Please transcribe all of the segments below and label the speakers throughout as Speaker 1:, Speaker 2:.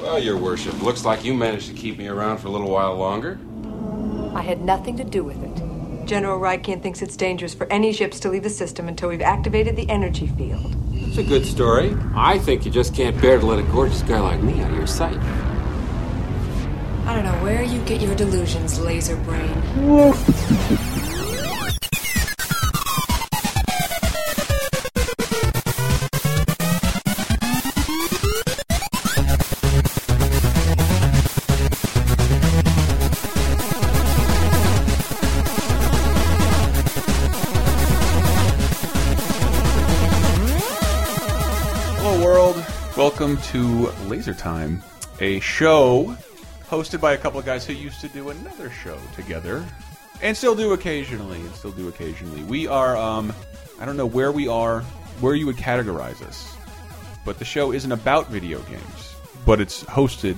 Speaker 1: Well, Your Worship, looks like you managed to keep me around for a little while longer.
Speaker 2: I had nothing to do with it. General Rykan thinks it's dangerous for any ships to leave the system until we've activated the energy field.
Speaker 1: It's a good story. I think you just can't bear to let a gorgeous guy like me out of your sight.
Speaker 2: I don't know where you get your delusions, laser brain.
Speaker 3: Hello, world. Welcome to Laser Time, a show hosted by a couple of guys who used to do another show together, and still do occasionally, and still do occasionally. We are, um, I don't know where we are, where you would categorize us, but the show isn't about video games, but it's hosted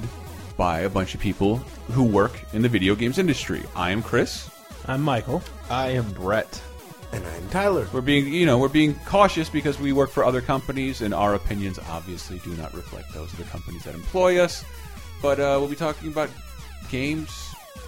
Speaker 3: by a bunch of people who work in the video games industry. I am Chris.
Speaker 4: I'm Michael.
Speaker 5: I am Brett.
Speaker 6: And I'm Tyler.
Speaker 3: We're being, you know, we're being cautious because we work for other companies, and our opinions obviously do not reflect those of the companies that employ us. But uh, we'll be talking about games,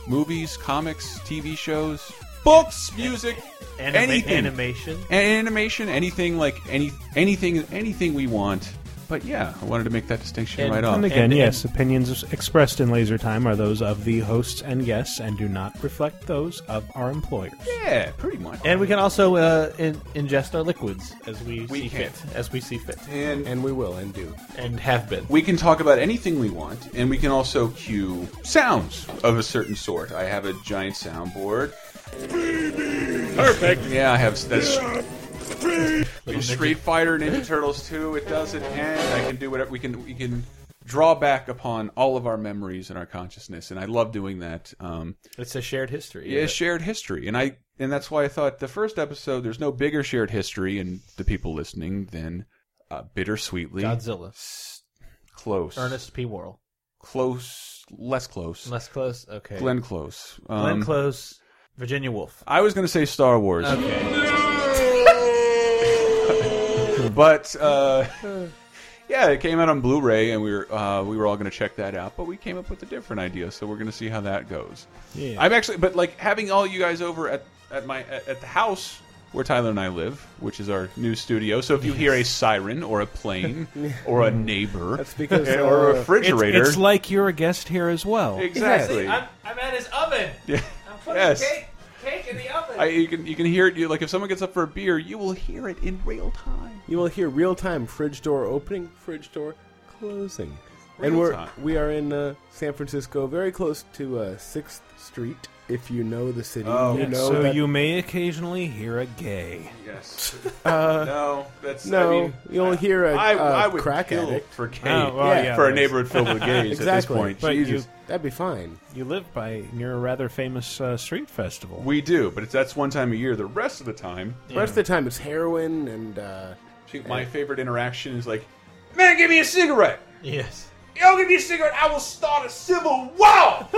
Speaker 3: movies, comics, TV shows, books, music, anything,
Speaker 4: Animation.
Speaker 3: A- animation, anything like any anything, anything we want. But yeah, I wanted to make that distinction
Speaker 4: And
Speaker 3: right
Speaker 4: from
Speaker 3: off.
Speaker 4: the
Speaker 5: And-
Speaker 4: Again,
Speaker 5: and-
Speaker 4: yes, opinions expressed in Laser Time are those of the hosts and guests and do not reflect those of our employers.
Speaker 3: yeah, pretty much.
Speaker 5: And we can also uh, in, ingest our liquids as we,
Speaker 3: We
Speaker 5: see
Speaker 3: can.
Speaker 5: fit. As we see fit.
Speaker 3: and
Speaker 6: And we will and do.
Speaker 5: And have been.
Speaker 3: We can talk about anything we want, and we can also cue sounds of a certain sort. I have a giant soundboard. Perfect. Yeah, I have that's Street Fighter, Ninja Turtles 2. It doesn't end. I can do whatever we can. We can draw back upon all of our memories and our consciousness, and I love doing that. Um,
Speaker 5: It's a shared history.
Speaker 3: yeah, shared history, and I and that's why I thought the first episode. There's no bigger shared history in the people listening than uh, bittersweetly
Speaker 5: Godzilla.
Speaker 3: close.
Speaker 5: Ernest P. Worrell.
Speaker 3: close, less close.
Speaker 5: Less close. Okay.
Speaker 3: Glenn Close. Um,
Speaker 5: Glenn Close. Virginia Woolf.
Speaker 3: I was going to say Star Wars,
Speaker 5: Okay.
Speaker 3: but uh, yeah, it came out on Blu-ray, and we were uh, we were all going to check that out. But we came up with a different idea, so we're going to see how that goes.
Speaker 4: Yeah.
Speaker 3: I'm actually, but like having all you guys over at at my at, at the house where Tyler and I live, which is our new studio. So if you hear a siren or a plane or a neighbor
Speaker 6: That's because,
Speaker 3: or a
Speaker 6: uh,
Speaker 4: it's,
Speaker 3: refrigerator,
Speaker 4: it's like you're a guest here as well.
Speaker 3: exactly.
Speaker 5: I'm at his oven.
Speaker 3: Yeah. yes. I, you can you can hear it. You, like if someone gets up for a beer, you will hear it in real time.
Speaker 6: You will hear real time fridge door opening, fridge door closing.
Speaker 3: Real
Speaker 6: and we're
Speaker 3: time.
Speaker 6: we are in uh, San Francisco, very close to uh, Sixth Street. If you know the city,
Speaker 3: Oh.
Speaker 6: you
Speaker 3: Yeah,
Speaker 6: know
Speaker 4: so
Speaker 6: that-
Speaker 4: you may occasionally hear a gay.
Speaker 3: Yes. no, that's
Speaker 6: no,
Speaker 3: I mean,
Speaker 6: you'll hear a
Speaker 3: I, I
Speaker 6: uh,
Speaker 3: would
Speaker 6: crack
Speaker 3: kill
Speaker 6: addict.
Speaker 3: for gay,
Speaker 4: Oh, well,
Speaker 6: Yeah. yeah,
Speaker 3: for a
Speaker 4: there's-
Speaker 3: neighborhood filled with gays at this
Speaker 6: Exactly.
Speaker 3: point.
Speaker 4: But you-
Speaker 3: Jesus,
Speaker 6: That'd be fine.
Speaker 4: You live by near a rather famous uh, street festival.
Speaker 3: we do, but it's, that's one time a year. The rest of the time,
Speaker 6: The rest of the time, it's heroin and uh,
Speaker 3: she, my favorite interaction is like, "Man, give me a cigarette."
Speaker 5: Yes.
Speaker 3: Yo, give me a cigarette. I will start a civil war.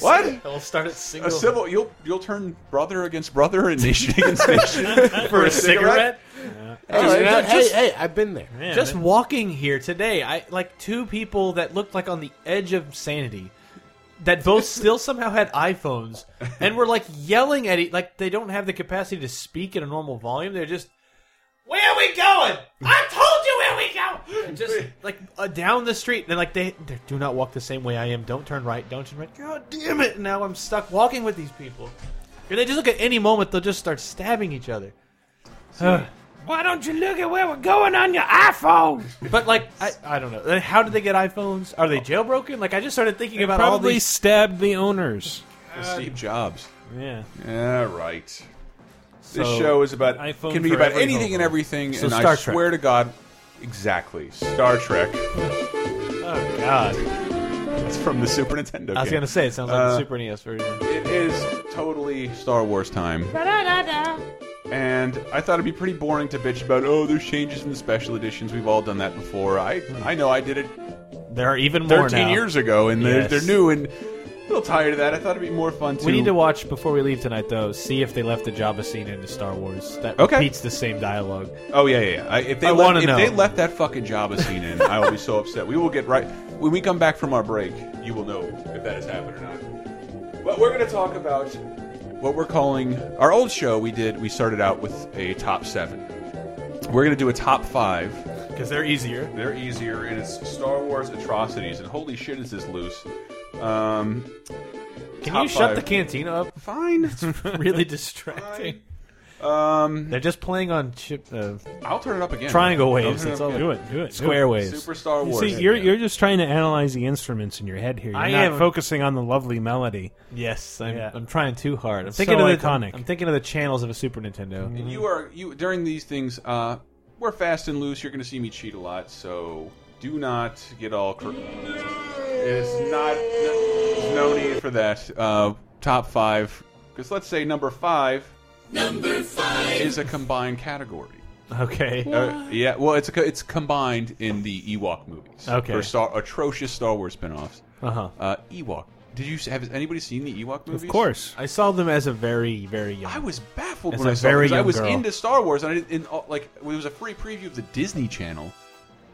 Speaker 3: what?
Speaker 5: I'll start at single.
Speaker 3: A civil? You'll you'll turn brother against brother and nation against nation for a cigarette?
Speaker 6: Hey,
Speaker 5: Just-
Speaker 6: that-
Speaker 5: just-
Speaker 6: hey, hey, I've been there.
Speaker 4: Yeah,
Speaker 5: Just
Speaker 4: man.
Speaker 5: walking here today, I like two people that looked like on the edge of sanity, that both still somehow had iPhones and were like yelling at each like they don't have the capacity to speak at a normal volume. They're just, "Where are we going? I told you where we go!" And just like uh, down the street, and like they, they do not walk the same way I am. Don't turn right. Don't turn right. God damn it! Now I'm stuck walking with these people. And they just look at any moment they'll just start stabbing each other. Why don't you look at where we're going on your iPhone? But like, I, I don't know. Like, How did they get iPhones? Are they jailbroken? Like, I just started thinking about all
Speaker 4: probably
Speaker 5: these.
Speaker 4: stabbed the owners.
Speaker 3: Steve Jobs.
Speaker 4: Yeah.
Speaker 3: Yeah, right. This
Speaker 4: So,
Speaker 3: show is about
Speaker 4: iPhone
Speaker 3: can be
Speaker 4: for
Speaker 3: about
Speaker 4: every
Speaker 3: anything
Speaker 4: home.
Speaker 3: and everything,
Speaker 5: So
Speaker 3: and I
Speaker 5: Star Trek.
Speaker 3: swear to God, exactly Star Trek.
Speaker 5: Oh God!
Speaker 3: That's from the Super Nintendo.
Speaker 5: I was
Speaker 3: game.
Speaker 5: gonna say it sounds like
Speaker 3: Uh,
Speaker 5: the Super NES version.
Speaker 3: it is totally Star Wars time. And I thought it'd be pretty boring to bitch about. Oh, there's changes in the special editions. We've all done that before. I I know I did it
Speaker 5: There are even more
Speaker 3: 13
Speaker 5: now.
Speaker 3: years ago, and they're,
Speaker 5: Yes.
Speaker 3: they're new and. little tired of that. I thought it'd be more fun to.
Speaker 5: We need to watch before we leave tonight, though. See if they left the Jabba scene into Star Wars. That
Speaker 3: Okay.
Speaker 5: repeats the same dialogue.
Speaker 3: Oh yeah, yeah. yeah. I, if they
Speaker 5: I
Speaker 3: left,
Speaker 5: wanna
Speaker 3: if
Speaker 5: know.
Speaker 3: they left that fucking Jabba scene in, I will be so upset. We will get right when we come back from our break. You will know if that has happened or not. But we're going to talk about what we're calling our old show. We did. We started out with a top seven. We're going to do a top five.
Speaker 5: Because they're easier.
Speaker 3: They're easier, and it's Star Wars atrocities. And holy shit, is this loose? Um,
Speaker 5: Can
Speaker 3: Top
Speaker 5: you shut
Speaker 3: five.
Speaker 5: the cantina up?
Speaker 3: fine.
Speaker 5: really distracting. Um, they're just playing on chip, uh,
Speaker 3: I'll turn it up again.
Speaker 5: triangle
Speaker 3: I'll
Speaker 5: waves.
Speaker 3: turn it
Speaker 5: That's
Speaker 3: up
Speaker 5: all.
Speaker 3: again.
Speaker 4: Do it. Do it.
Speaker 5: Square
Speaker 4: do it.
Speaker 5: waves.
Speaker 3: Super Star
Speaker 4: You
Speaker 3: Wars.
Speaker 4: see, you're you're just trying to analyze the instruments in your head here. You're
Speaker 5: I
Speaker 4: not
Speaker 5: am.
Speaker 4: focusing on the lovely melody.
Speaker 5: Yes, I'm,
Speaker 4: Yeah.
Speaker 5: I'm trying too hard. I'm
Speaker 4: It's
Speaker 5: thinking
Speaker 4: so
Speaker 5: of the,
Speaker 4: iconic. Mm-hmm.
Speaker 5: I'm thinking of the channels of a Super Nintendo.
Speaker 3: And you are you during these things. Uh, we're fast and loose. You're going to see me cheat a lot, so do not get all. Cr- it's not no, no need for that. Uh, top five, because let's say number five. Number five is a combined category.
Speaker 5: Okay.
Speaker 3: Uh, yeah, well, it's a, co- it's combined in the Ewok movies.
Speaker 5: Okay.
Speaker 3: for Star, atrocious Star Wars spinoffs.
Speaker 5: Uh huh.
Speaker 3: Uh, Ewok. Did you have anybody seen the Ewok movies?
Speaker 4: Uh-huh. Of course.
Speaker 5: I saw them as a very, very young.
Speaker 3: I was baffled
Speaker 5: As
Speaker 3: when
Speaker 5: a
Speaker 3: I saw it,
Speaker 5: very
Speaker 3: 'cause I
Speaker 5: young
Speaker 3: was
Speaker 5: girl.
Speaker 3: into Star Wars, and I didn't, and, uh, like it was a free preview of the Disney Channel,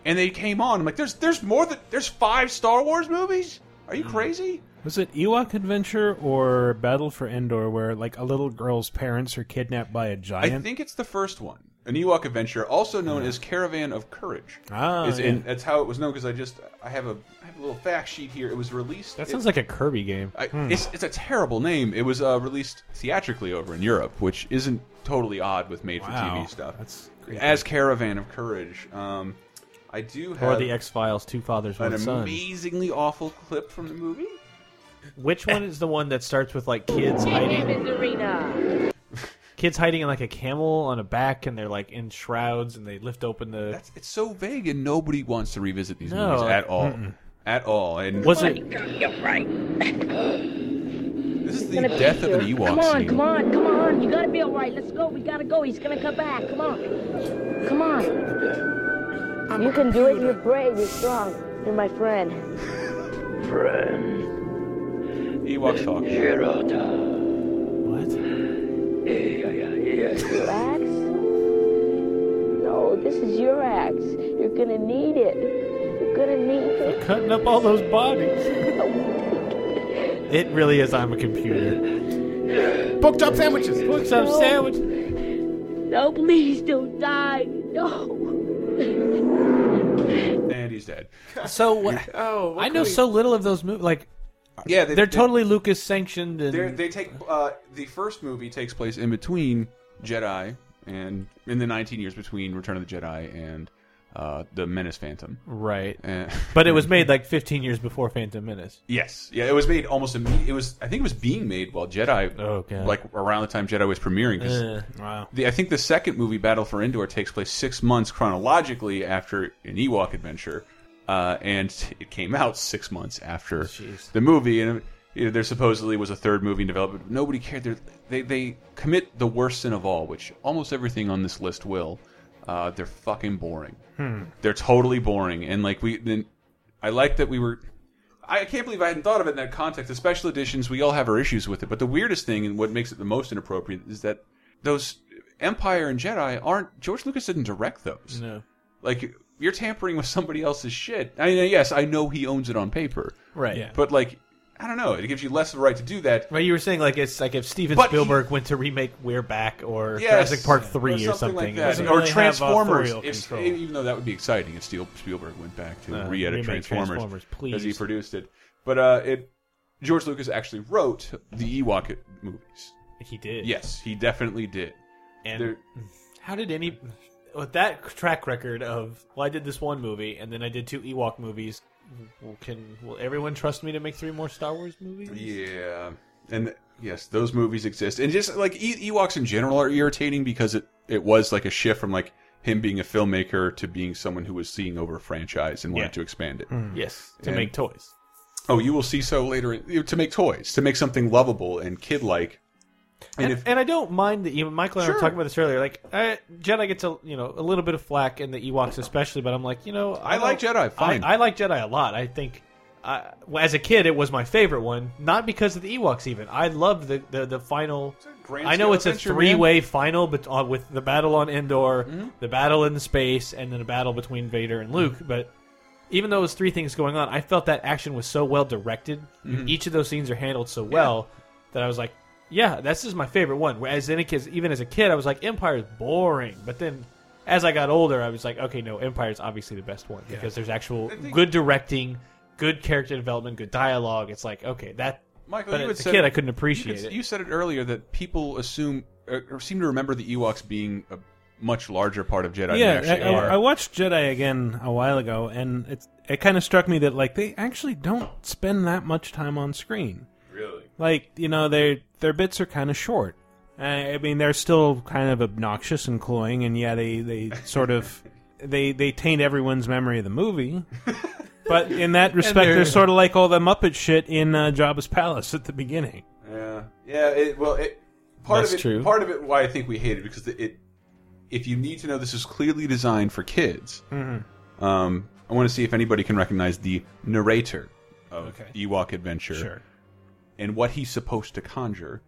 Speaker 3: and they came on. I'm like, "There's, there's more than there's five Star Wars movies? Are
Speaker 5: Mm.
Speaker 3: you crazy?"
Speaker 4: Was it Ewok Adventure or Battle for Endor, where like a little girl's parents are kidnapped by a giant?
Speaker 3: I think it's the first one, an Ewok adventure, also known as Caravan of Courage.
Speaker 4: Ah,
Speaker 3: is in,
Speaker 4: yeah.
Speaker 3: that's how it was known because I just I have a I have a little fact sheet here. It was released.
Speaker 5: that sounds like a Kirby game.
Speaker 3: I, it's, it's a terrible name. It was uh, released theatrically over in Europe, which isn't totally odd with
Speaker 4: Wow.
Speaker 3: made-for-TV stuff.
Speaker 4: That's
Speaker 3: as Caravan of Courage. Um, I do
Speaker 5: Or
Speaker 3: have
Speaker 5: the X Files, Two Fathers,
Speaker 3: an
Speaker 5: One Son.
Speaker 3: amazingly awful clip from the movie.
Speaker 5: Which one is the one that starts with like kids
Speaker 7: My name
Speaker 5: hiding,
Speaker 7: is Arena.
Speaker 5: kids hiding in like a camel on a back, and they're like in shrouds, and they lift open the.
Speaker 3: That's it's so vague, and nobody wants to revisit these
Speaker 5: No,
Speaker 3: movies
Speaker 5: I-
Speaker 3: at all. At all, and
Speaker 5: was it?
Speaker 7: You're right.
Speaker 3: this is the
Speaker 7: Gonna be
Speaker 3: death of an
Speaker 7: here.
Speaker 3: Ewok
Speaker 7: Come on,
Speaker 3: scene.
Speaker 7: come on, come on. You gotta be all right. Let's go. We gotta go. He's gonna come back. Come on. Come on. you can do it. You're brave. You're strong. You're my friend.
Speaker 8: Friend,
Speaker 3: Ewoks talk.
Speaker 8: Hirota.
Speaker 5: What?
Speaker 8: Yeah, yeah, yeah.
Speaker 7: Axe? No, this is your axe. You're gonna need it. You're gonna need it.
Speaker 5: Cutting up all those bodies. it really is. I'm a computer.
Speaker 6: Booked up sandwiches.
Speaker 5: Put some sandwich.
Speaker 7: No, please don't die. No.
Speaker 3: and he's dead.
Speaker 5: So what?
Speaker 6: Oh,
Speaker 5: I know so little of those movies. Like
Speaker 3: Yeah, they,
Speaker 5: they're
Speaker 3: they-
Speaker 5: totally Lucas sanctioned, and
Speaker 3: They're, they take uh, the first movie takes place in between Jedi and in the 19 years between Return of the Jedi and uh, the Menace Phantom.
Speaker 5: right.
Speaker 3: And,
Speaker 5: But it was made like 15 years before Phantom Menace.
Speaker 3: Yes, yeah, it was made almost immediately. It was, I think, it was being made while Jedi,
Speaker 5: Oh, God. Eh.
Speaker 3: like around the time Jedi was premiering. 'cause
Speaker 5: Uh,
Speaker 4: wow.
Speaker 3: the, I think the second movie, Battle for Endor, takes place six months chronologically after an Ewok adventure, uh, and it came out six months after the movie. And you know, there supposedly was a third movie in development, but nobody cared. They're, they they commit the worst sin of all, which almost everything on this list will. Uh, they're fucking boring. They're totally boring, and like we then. I like that we were. I can't believe I hadn't thought of it in that context. The special editions, we all have our issues with it, but the weirdest thing and what makes it the most inappropriate is that those Empire and Jedi aren't. George Lucas didn't direct those.
Speaker 5: No.
Speaker 3: Like you're tampering with somebody else's shit. I mean, yes, I know he owns it on paper,
Speaker 5: Right.
Speaker 4: Yeah.
Speaker 3: but like I don't know. It gives you less of a right to do that.
Speaker 5: Right, you were saying like it's like if Steven
Speaker 3: But he-
Speaker 5: Spielberg went to remake We're Back or
Speaker 3: Yes.
Speaker 5: Jurassic Park three or something,
Speaker 3: like
Speaker 5: it
Speaker 3: that,
Speaker 5: would
Speaker 4: doesn't
Speaker 3: or
Speaker 4: really have
Speaker 3: Transformers.
Speaker 4: authorial
Speaker 3: If,
Speaker 4: control.
Speaker 3: even though that would be exciting if Steel, Spielberg went back to
Speaker 5: Uh, remake
Speaker 3: re-edit Transformers,
Speaker 5: Transformers, please.
Speaker 3: as he produced it. But uh, it George Lucas actually wrote the Ewok movies.
Speaker 5: be- he did.
Speaker 3: Yes, he definitely did.
Speaker 5: And
Speaker 3: They're-
Speaker 5: how did any with that track record of well, I did this one movie and then I did two Ewok movies. Well, can will everyone trust me to make three more Star Wars movies?
Speaker 3: Yeah, and yes, those movies exist, and just like e Ewoks in general are irritating because it it was like a shift from like him being a filmmaker to being someone who was seeing over a franchise and wanted
Speaker 5: Yeah. Hmm.
Speaker 3: to expand it.
Speaker 5: Yes, to
Speaker 3: And-
Speaker 5: make toys.
Speaker 3: Oh, you will see so later in, to make toys, to make something lovable and kid like. And,
Speaker 5: And,
Speaker 3: if
Speaker 5: and I don't mind that you Michael and I
Speaker 3: Sure.
Speaker 5: were talking about this earlier. Like I, Jedi gets a you know a little bit of flack in the Ewoks especially, but I'm like you know
Speaker 3: I like
Speaker 5: don't-
Speaker 3: Jedi, fine.
Speaker 5: I, I like Jedi a lot. I think I, as a kid, it was my favorite one, not because of the Ewoks. Even I loved the the, the final.
Speaker 3: a grand
Speaker 5: I know
Speaker 3: scale
Speaker 5: it's a
Speaker 3: adventure, Mm-hmm.
Speaker 5: three way final, but uh, with the battle on Endor, the battle in space, and then a battle between Vader and Luke. But even though it was three things going on, I felt that action was so well directed.
Speaker 3: Mm-hmm.
Speaker 5: Each of those scenes are handled so well that I was like, "Yeah, this is my favorite one." Whereas in a kid, even as a kid, I was like, "Empire's boring," but then. As I got older, I was like, okay, no, Empire's obviously the best one because there's actual good directing, good character development, good dialogue. It's like, okay, that.
Speaker 3: Michael,
Speaker 5: but
Speaker 3: you
Speaker 5: as
Speaker 3: had
Speaker 5: a
Speaker 3: said-
Speaker 5: kid, I couldn't
Speaker 3: you,
Speaker 5: appreciate
Speaker 3: could-
Speaker 5: it.
Speaker 3: you said it earlier that people assume uh, or or seem to remember the Ewoks being a much larger part of Jedi
Speaker 4: yeah,
Speaker 3: than they
Speaker 4: I,
Speaker 3: actually are.
Speaker 4: I, I watched Jedi again a while ago, and it it kind of struck me that like they actually don't spend that much time on screen.
Speaker 3: really?
Speaker 4: Like you know their their bits are kind of short. I, I mean they're still kind of obnoxious and cloying, and yeah they they sort of they they taint everyone's memory of the movie. But in that respect,
Speaker 5: they're-
Speaker 4: they're, sort of like all the Muppet shit in uh, Jabba's palace at the beginning.
Speaker 3: Yeah, yeah. It, well, it, part
Speaker 6: That's
Speaker 3: of it,
Speaker 6: true.
Speaker 3: part of it, why I think we hate it because it. If you need to know, this is clearly designed for kids.
Speaker 5: Mm-hmm.
Speaker 3: Um, I want to see if anybody can recognize the narrator of
Speaker 4: Okay.
Speaker 3: Ewok Adventure and what he's supposed to conjure.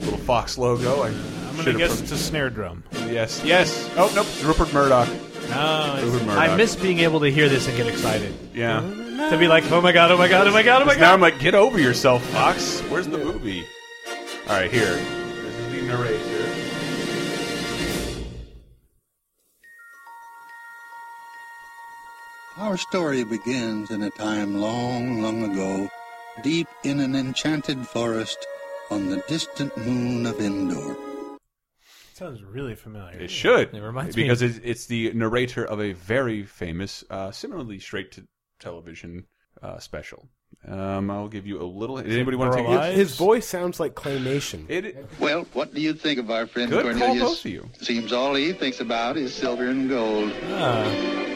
Speaker 3: Little fox logo. I
Speaker 4: I'm gonna
Speaker 3: should've
Speaker 4: guess it's a snare drum.
Speaker 3: pro- yes, yes. Oh nope, it's Rupert Murdoch.
Speaker 4: No, Oh,
Speaker 3: Rupert Murdoch.
Speaker 5: I miss being able to hear this and get excited.
Speaker 3: Yeah.
Speaker 5: To be like, oh my god, oh my god, oh my god, oh my
Speaker 3: Now
Speaker 5: god.
Speaker 3: I'm like, get over yourself, Fox. Where's the movie? All right, here. This is the narrator.
Speaker 9: Our story begins in a time long, long ago, deep in an enchanted forest on the distant moon of Endor.
Speaker 4: sounds really familiar.
Speaker 3: It should.
Speaker 5: It reminds me-
Speaker 3: because it's, it's the narrator of a very famous, uh, similarly straight to television uh, special. Um, I'll give you a little. Did anybody want to take
Speaker 4: Burl
Speaker 3: it?
Speaker 6: His voice sounds like claymation.
Speaker 3: It
Speaker 9: Well, what do you think of our friend
Speaker 3: Good call,
Speaker 9: Cornelius?
Speaker 3: both of you.
Speaker 9: Seems all he thinks about is silver and gold.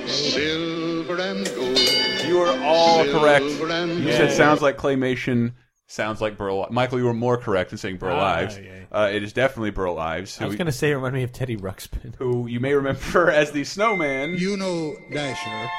Speaker 9: Silver and gold.
Speaker 3: you are all
Speaker 9: Silver
Speaker 3: correct.
Speaker 9: and
Speaker 3: You
Speaker 9: gold.
Speaker 3: said sounds like claymation. Sounds like Burl. Michael, you were more correct in saying Burl
Speaker 4: Ah,
Speaker 3: Ives.
Speaker 4: yeah.
Speaker 3: Uh, it is definitely Burl Ives,
Speaker 5: I
Speaker 3: who,
Speaker 5: was gonna say, it reminded me of Teddy Ruxpin.
Speaker 3: who you may remember as the Snowman.
Speaker 9: You know Dasher.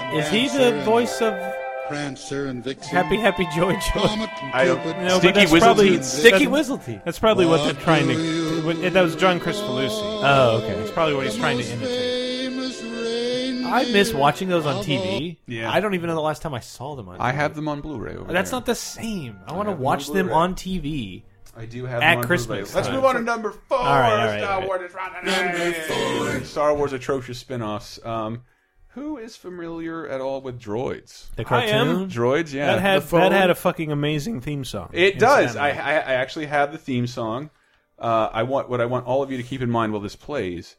Speaker 9: and
Speaker 5: Is he
Speaker 9: Dancer
Speaker 5: the
Speaker 9: and
Speaker 5: voice of
Speaker 9: Prancer and Vixen?
Speaker 5: Happy Happy Joy Joy?
Speaker 9: Comet and
Speaker 3: I don't-
Speaker 9: Cupid.
Speaker 4: No,
Speaker 3: Sticky
Speaker 4: but that's
Speaker 3: Wizzle
Speaker 4: probably,
Speaker 3: Teeth.
Speaker 5: Sticky
Speaker 4: that's-
Speaker 5: Wizzlety.
Speaker 4: That's probably what
Speaker 9: What
Speaker 4: they're trying
Speaker 9: do
Speaker 4: to.
Speaker 9: you
Speaker 4: when- That was John Crispalusi.
Speaker 5: Oh, okay.
Speaker 4: That's probably what he's trying to imitate.
Speaker 9: Famous reindeer.
Speaker 5: I miss watching those on TV.
Speaker 3: Yeah.
Speaker 5: I don't even know the last time I saw them on.
Speaker 3: I
Speaker 5: TV.
Speaker 3: have them on Blu-ray. Over
Speaker 5: That's
Speaker 3: there.
Speaker 5: not the same. I want to
Speaker 3: have them
Speaker 5: watch
Speaker 3: on
Speaker 5: them
Speaker 3: Blu-ray.
Speaker 5: on TV.
Speaker 3: I do have
Speaker 5: At
Speaker 3: them on
Speaker 5: Christmas
Speaker 3: Blu-ray. Let's
Speaker 5: time.
Speaker 3: move on to number four.
Speaker 5: All right, all right,
Speaker 3: Star
Speaker 5: all right.
Speaker 3: Wars is running away. Star Wars atrocious spin-offs. Um, who is familiar at all with droids?
Speaker 5: The
Speaker 4: I am-
Speaker 5: cartoon.
Speaker 3: Droids, yeah.
Speaker 4: That had
Speaker 6: The phone-
Speaker 4: that had a fucking amazing theme song.
Speaker 3: it does. I, I
Speaker 4: Incidentally.
Speaker 3: I actually have the theme song. Uh, I want what I want all of you to keep in mind while this plays.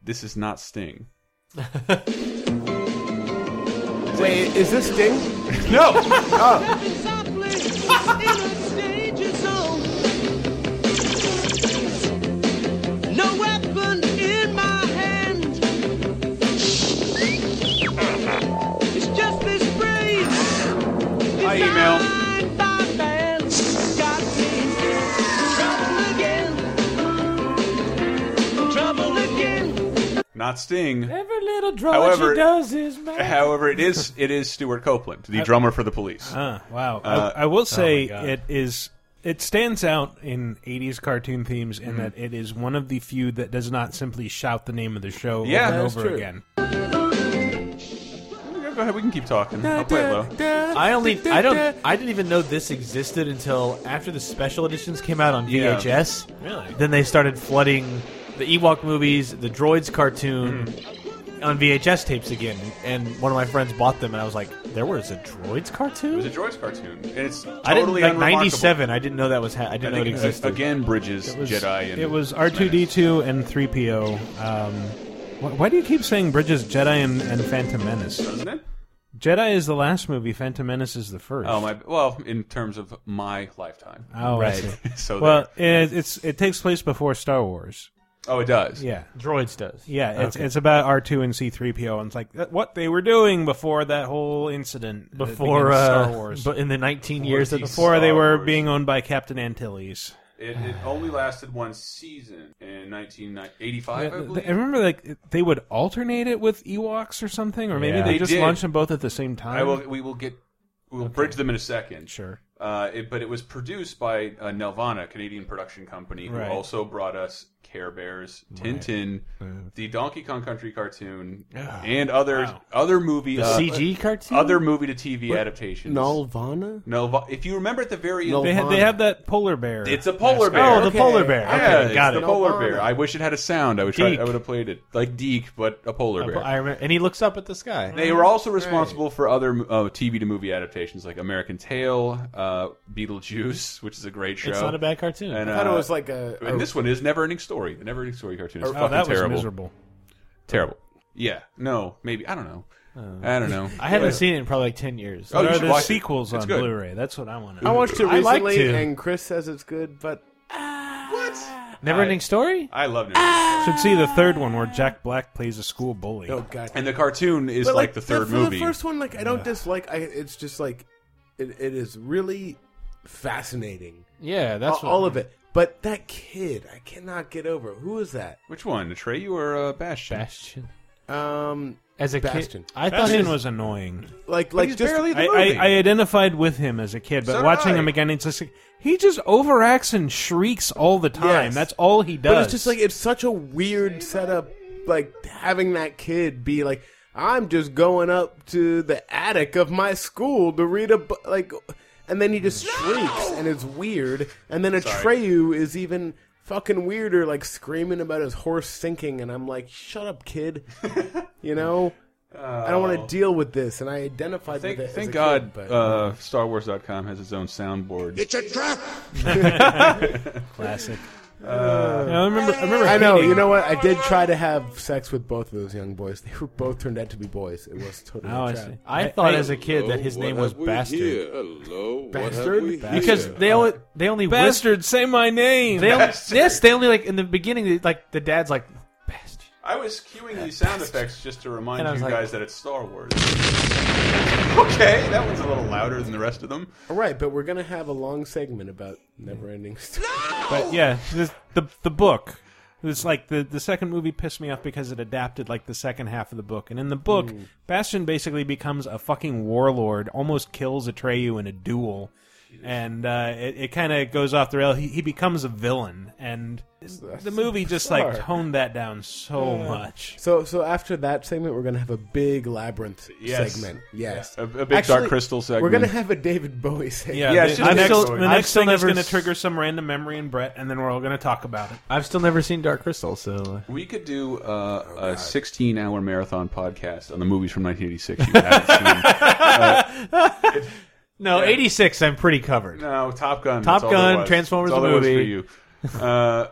Speaker 3: This is not Sting.
Speaker 6: Wait, is this Sting?
Speaker 3: No.
Speaker 10: No weapon in my hand. It's just this brain.
Speaker 3: Hi, email.
Speaker 10: designed by man. Got me in trouble again. Trouble again.
Speaker 3: Not Sting.
Speaker 5: Every little drudge
Speaker 3: However-
Speaker 5: he does is mad.
Speaker 3: However, it is it is Stuart Copeland, the
Speaker 4: Uh,
Speaker 3: drummer for the Police.
Speaker 4: Ah, wow.
Speaker 3: Uh,
Speaker 4: I, I will say
Speaker 5: God.
Speaker 4: it is. It stands out in '80s cartoon themes in that it is one of the few that does not simply shout the name of the show
Speaker 3: Yeah,
Speaker 4: over and
Speaker 6: that's
Speaker 4: over
Speaker 6: true.
Speaker 4: again.
Speaker 3: Go ahead, we can keep talking. I'll play it low.
Speaker 5: I only I don't I didn't even know this existed until after the special editions came out on
Speaker 3: Yeah.
Speaker 5: VHS.
Speaker 4: Really?
Speaker 5: Then they started flooding the Ewok movies, the Droids cartoon
Speaker 3: Hmm.
Speaker 5: on VHS tapes again. And one of my friends bought them and I was like, there was a Droids cartoon?
Speaker 3: It was a droids cartoon, and it's totally
Speaker 5: I didn't like
Speaker 3: unremarkable.
Speaker 5: 97. I didn't know that was ha- I
Speaker 3: I
Speaker 5: didn't know
Speaker 3: think
Speaker 5: it
Speaker 3: it
Speaker 5: existed.
Speaker 3: again bridges
Speaker 4: It was-
Speaker 3: Jedi. And
Speaker 4: it was R2D2 and 3PO. Um, wh- why do you keep saying Bridges Jedi and, and Phantom Menace?
Speaker 3: doesn't it?
Speaker 4: Jedi is the last movie. Phantom Menace is the first.
Speaker 3: Oh my! Well, in terms of my lifetime,
Speaker 4: Oh, I
Speaker 5: Right.
Speaker 4: see.
Speaker 3: so
Speaker 4: well, it, it's it takes place before Star Wars.
Speaker 3: there- oh, it does.
Speaker 4: Yeah,
Speaker 5: Droids does.
Speaker 4: yeah. It's it's about R two and C three PO, and it's like that- what they were doing before that whole incident that
Speaker 5: Before
Speaker 4: begins
Speaker 5: uh,
Speaker 4: Star Wars.
Speaker 5: but in the 19 years that
Speaker 3: Before
Speaker 4: before they
Speaker 3: Star
Speaker 4: were
Speaker 3: Wars.
Speaker 4: being owned by Captain Antilles.
Speaker 3: It- It, it only lasted one season in 1985, I
Speaker 4: Yeah,
Speaker 3: believe.
Speaker 4: I remember like they would alternate it with Ewoks or something, or maybe
Speaker 3: Yeah.
Speaker 4: they,
Speaker 3: They
Speaker 4: just
Speaker 3: did.
Speaker 4: launched them both at the same time.
Speaker 3: I will. We will get. We'll bridge them in a second.
Speaker 4: Sure.
Speaker 3: Uh, it, but it was produced by uh, Nelvana, a Canadian production company, who
Speaker 4: Right.
Speaker 3: also brought us Care Bears, Tintin, the Donkey Kong Country cartoon, and other other movie
Speaker 6: The
Speaker 3: uh,
Speaker 6: CG cartoon?
Speaker 3: other movie to TV adaptations.
Speaker 6: Nalvana?
Speaker 3: Nelva- if you remember at the very end,
Speaker 4: They have, they have that polar bear.
Speaker 3: It's a polar bear.
Speaker 4: Oh, the polar bear.
Speaker 3: Yeah,
Speaker 4: Okay,
Speaker 3: it's
Speaker 4: got
Speaker 3: the
Speaker 4: it.
Speaker 3: polar bear. I wish it had a sound. I would try,
Speaker 5: Deke.
Speaker 3: I would have played it like Deke, but a polar bear.
Speaker 5: I remember, and he looks up at the sky.
Speaker 3: They were also responsible for other uh, TV to movie adaptations like American Tail, uh, Beetlejuice, which is a great show.
Speaker 5: It's not a bad cartoon.
Speaker 3: And,
Speaker 6: I thought
Speaker 3: uh,
Speaker 6: it was like a.
Speaker 3: and this one is Never Ending Story. The Never Ending Story cartoon is
Speaker 4: oh,
Speaker 3: fucking
Speaker 4: that was
Speaker 3: terrible.
Speaker 4: miserable.
Speaker 3: Terrible. Yeah. No. Maybe. I don't know. I don't know.
Speaker 5: I haven't seen it in probably like ten years.
Speaker 3: Oh, you
Speaker 4: There are
Speaker 3: should
Speaker 4: the
Speaker 3: watch it.
Speaker 4: sequels
Speaker 3: It's
Speaker 4: on
Speaker 3: good.
Speaker 4: Blu-ray. That's what I want to.
Speaker 6: I watched it
Speaker 5: I like
Speaker 6: recently,
Speaker 5: to.
Speaker 6: and Chris says it's good, but
Speaker 3: what?
Speaker 5: Never ending story.
Speaker 3: I love it.
Speaker 4: Should see the third one where Jack Black plays a school bully.
Speaker 6: oh god.
Speaker 3: And the cartoon is
Speaker 6: But,
Speaker 3: like, the third
Speaker 6: for
Speaker 3: movie.
Speaker 6: The first one, like I don't dislike. I it's just like it, it is really fascinating.
Speaker 5: Yeah, that's
Speaker 6: all, all of it. But that kid, I cannot get over. Who is that?
Speaker 3: Which one, Atreyu or uh, Bastion?
Speaker 5: Bastion.
Speaker 6: Um,
Speaker 5: As a
Speaker 6: Bastion.
Speaker 5: kid, I thought
Speaker 4: Bastion
Speaker 5: his-
Speaker 4: was annoying.
Speaker 6: like
Speaker 3: But
Speaker 6: like
Speaker 3: he's
Speaker 6: just
Speaker 3: barely the
Speaker 4: I,
Speaker 3: movie.
Speaker 4: I, I identified with him as a kid, but
Speaker 3: So did
Speaker 4: watching
Speaker 3: I.
Speaker 4: him again, it's just like, he just overacts and shrieks all the time.
Speaker 6: Yes.
Speaker 4: That's all he does.
Speaker 6: But it's just like it's such a weird setup. Like having that kid be like, I'm just going up to the attic of my school to read a bu-, like, and then he just shrieks and it's weird. And then Atreyu is even fucking weirder, like screaming about his horse sinking. And I'm like, shut up, kid. you know. I don't want to deal with this, and I identified
Speaker 3: Thank,
Speaker 6: with it. as
Speaker 3: thank
Speaker 6: a
Speaker 3: God,
Speaker 6: kid, but-
Speaker 3: uh, StarWars.com has its own soundboard.
Speaker 9: It's a trap!
Speaker 4: classic. Yeah, I remember. I remember.
Speaker 6: I know.
Speaker 4: hating-
Speaker 6: You know what? I did try to have sex with both of those young boys. They were both turned out to be boys. It was totally
Speaker 4: Oh,
Speaker 6: a
Speaker 4: I
Speaker 6: trap.
Speaker 4: see.
Speaker 5: I thought as a kid that
Speaker 3: Oh,
Speaker 5: his name was Bastard
Speaker 1: Hello,
Speaker 6: Bastard?
Speaker 5: because they only they only whisper.
Speaker 4: Uh, Bastard, say my name.
Speaker 5: They only,
Speaker 3: Bastard.
Speaker 5: yes, they only like in the beginning. they- Like the dad's like Bastion.
Speaker 3: I was cueing these sound effects just to remind
Speaker 5: And I was
Speaker 3: you
Speaker 5: like-
Speaker 3: guys that it's Star Wars. okay, that one's a little louder than the rest of them.
Speaker 6: All right, but we're gonna have a long segment about never-ending story.
Speaker 4: But yeah, the the, the book. It's like the, the second movie pissed me off because it adapted like the second half of the book. And in the book,
Speaker 5: Hmm.
Speaker 4: Bastion basically becomes a fucking warlord, almost kills Atreyu in a duel. And uh, it, it kind of goes off the rail. He, he becomes a villain. And the movie just like
Speaker 6: bizarre.
Speaker 4: toned that down so much.
Speaker 6: So, so after that segment, we're gonna have a big labyrinth
Speaker 3: Yes.
Speaker 6: segment. Yes,
Speaker 3: A- a big Dark Crystal segment.
Speaker 6: We're gonna have a David Bowie segment.
Speaker 4: Yeah,
Speaker 3: Yeah,
Speaker 4: the,
Speaker 3: it's
Speaker 4: the
Speaker 3: just
Speaker 4: next,
Speaker 3: next-
Speaker 4: the
Speaker 3: I've
Speaker 4: next
Speaker 5: still
Speaker 4: thing is
Speaker 5: never
Speaker 4: going to
Speaker 5: s-
Speaker 4: trigger some random memory in Brett, and then we're all going to talk about it.
Speaker 5: I've still never seen Dark Crystal, so
Speaker 3: We could do
Speaker 6: Oh,
Speaker 3: uh, a 16 hour marathon podcast on the movies from 1986 you haven't seen.
Speaker 5: no, eighty six. I'm pretty covered.
Speaker 3: No, Top Gun.
Speaker 5: Top
Speaker 3: that's all there
Speaker 5: Gun,
Speaker 3: was.
Speaker 5: Transformers
Speaker 3: That's all
Speaker 5: the
Speaker 3: there was
Speaker 5: movie.
Speaker 3: for you. Uh,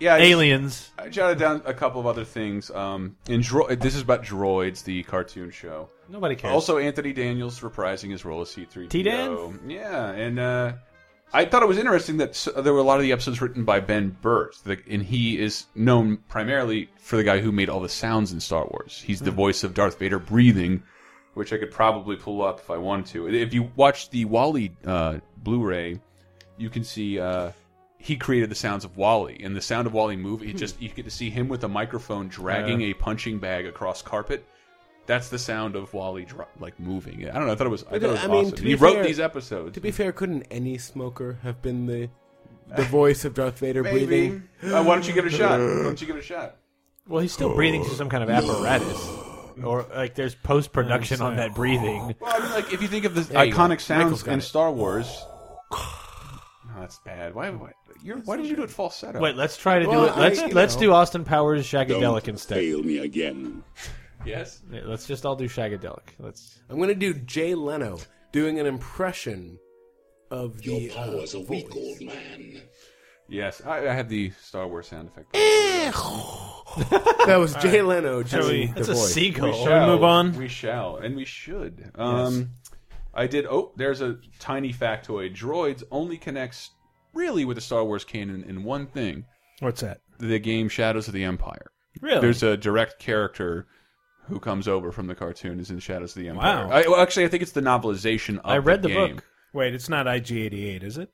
Speaker 3: yeah, I just-
Speaker 5: Aliens.
Speaker 3: I jotted down a couple of other things. Um, in Dro- this is about Droids, the cartoon show.
Speaker 5: Nobody cares.
Speaker 3: Also, Anthony Daniels reprising his role as C3PO.
Speaker 5: T-Dan?
Speaker 3: Yeah, and uh, I thought it was interesting that s there were a lot of the episodes written by Ben Burt, the, and he is known primarily for the guy who made all the sounds in Star Wars. He's the voice of Darth Vader breathing, which I could probably pull up if I wanted to. If you watch the Wally uh, Blu-ray, you can see. Uh, he created the sounds of Wally, and the sound of Wally move. It just you get to see him with a microphone dragging a punching bag across carpet. That's the sound of Wally dro- like moving. I don't know. I thought it was. I,
Speaker 6: But,
Speaker 3: thought it was
Speaker 6: I mean,
Speaker 3: awesome.
Speaker 6: to
Speaker 3: He
Speaker 6: be
Speaker 3: wrote
Speaker 6: fair-
Speaker 3: these episodes.
Speaker 6: To be fair, couldn't any smoker have been the the voice of Darth Vader breathing?
Speaker 3: Uh, why don't you give it a shot? Why don't you give it a shot?
Speaker 5: well, he's still breathing through some kind of apparatus, or like there's post production on that breathing.
Speaker 3: Well, I mean, like if you think of the
Speaker 6: you
Speaker 3: iconic
Speaker 6: go. Michael's
Speaker 3: sounds
Speaker 6: got
Speaker 3: in
Speaker 6: it.
Speaker 3: Star Wars. No, that's bad. Why? Why, you're, why did you do it falsetto?
Speaker 5: Wait, let's try to do
Speaker 6: Well,
Speaker 5: it. Let's
Speaker 6: I- you
Speaker 5: let's
Speaker 6: know.
Speaker 5: do Austin Powers Shagadelic instead.
Speaker 8: Fail me again.
Speaker 3: yes.
Speaker 5: Yeah, Let's just all do Shagadelic. Let's.
Speaker 6: I'm gonna do Jay Leno doing an impression of the.
Speaker 8: Your
Speaker 6: uh,
Speaker 8: power's a weak old man.
Speaker 3: Yes. I, I have the Star Wars sound effect.
Speaker 6: that was Jay Leno doing the
Speaker 5: That's a
Speaker 6: voice.
Speaker 5: seagull.
Speaker 4: Shall we move on?
Speaker 3: Oh, We shall, and we should. Um, I did. Oh, there's a tiny factoid. Droids only connects really with the Star Wars canon in one thing:
Speaker 4: What's that?
Speaker 3: the game Shadows of the Empire.
Speaker 4: Really?
Speaker 3: There's a direct character who comes over from the cartoon is in Shadows of the Empire.
Speaker 4: Wow.
Speaker 3: I, well, actually, I think it's the novelization. of
Speaker 5: I read the
Speaker 3: game.
Speaker 5: book.
Speaker 4: Wait, it's not IG88, is it?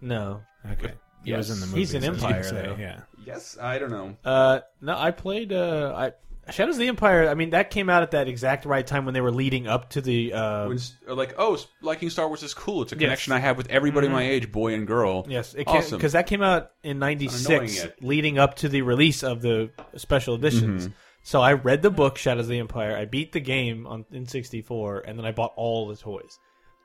Speaker 5: No.
Speaker 4: Okay. He was in the movie.
Speaker 5: He's an Empire, though.
Speaker 4: Yeah.
Speaker 3: Yes, I don't know.
Speaker 5: Uh, no, I played uh, I Shadows of the Empire. I mean, that came out at that exact right time when they were leading up to the. Uh,
Speaker 3: When s- or like, oh, s- liking Star Wars is cool. It's a connection I have with everybody my age, boy and girl.
Speaker 5: Mm-hmm. yes, it
Speaker 3: awesome.
Speaker 5: because that came out in
Speaker 3: Annoying
Speaker 5: '96,
Speaker 3: it.
Speaker 5: leading up to the release of the special editions. So I read the book Shadows of the Empire. I beat the game on in '64, and then I bought all the toys.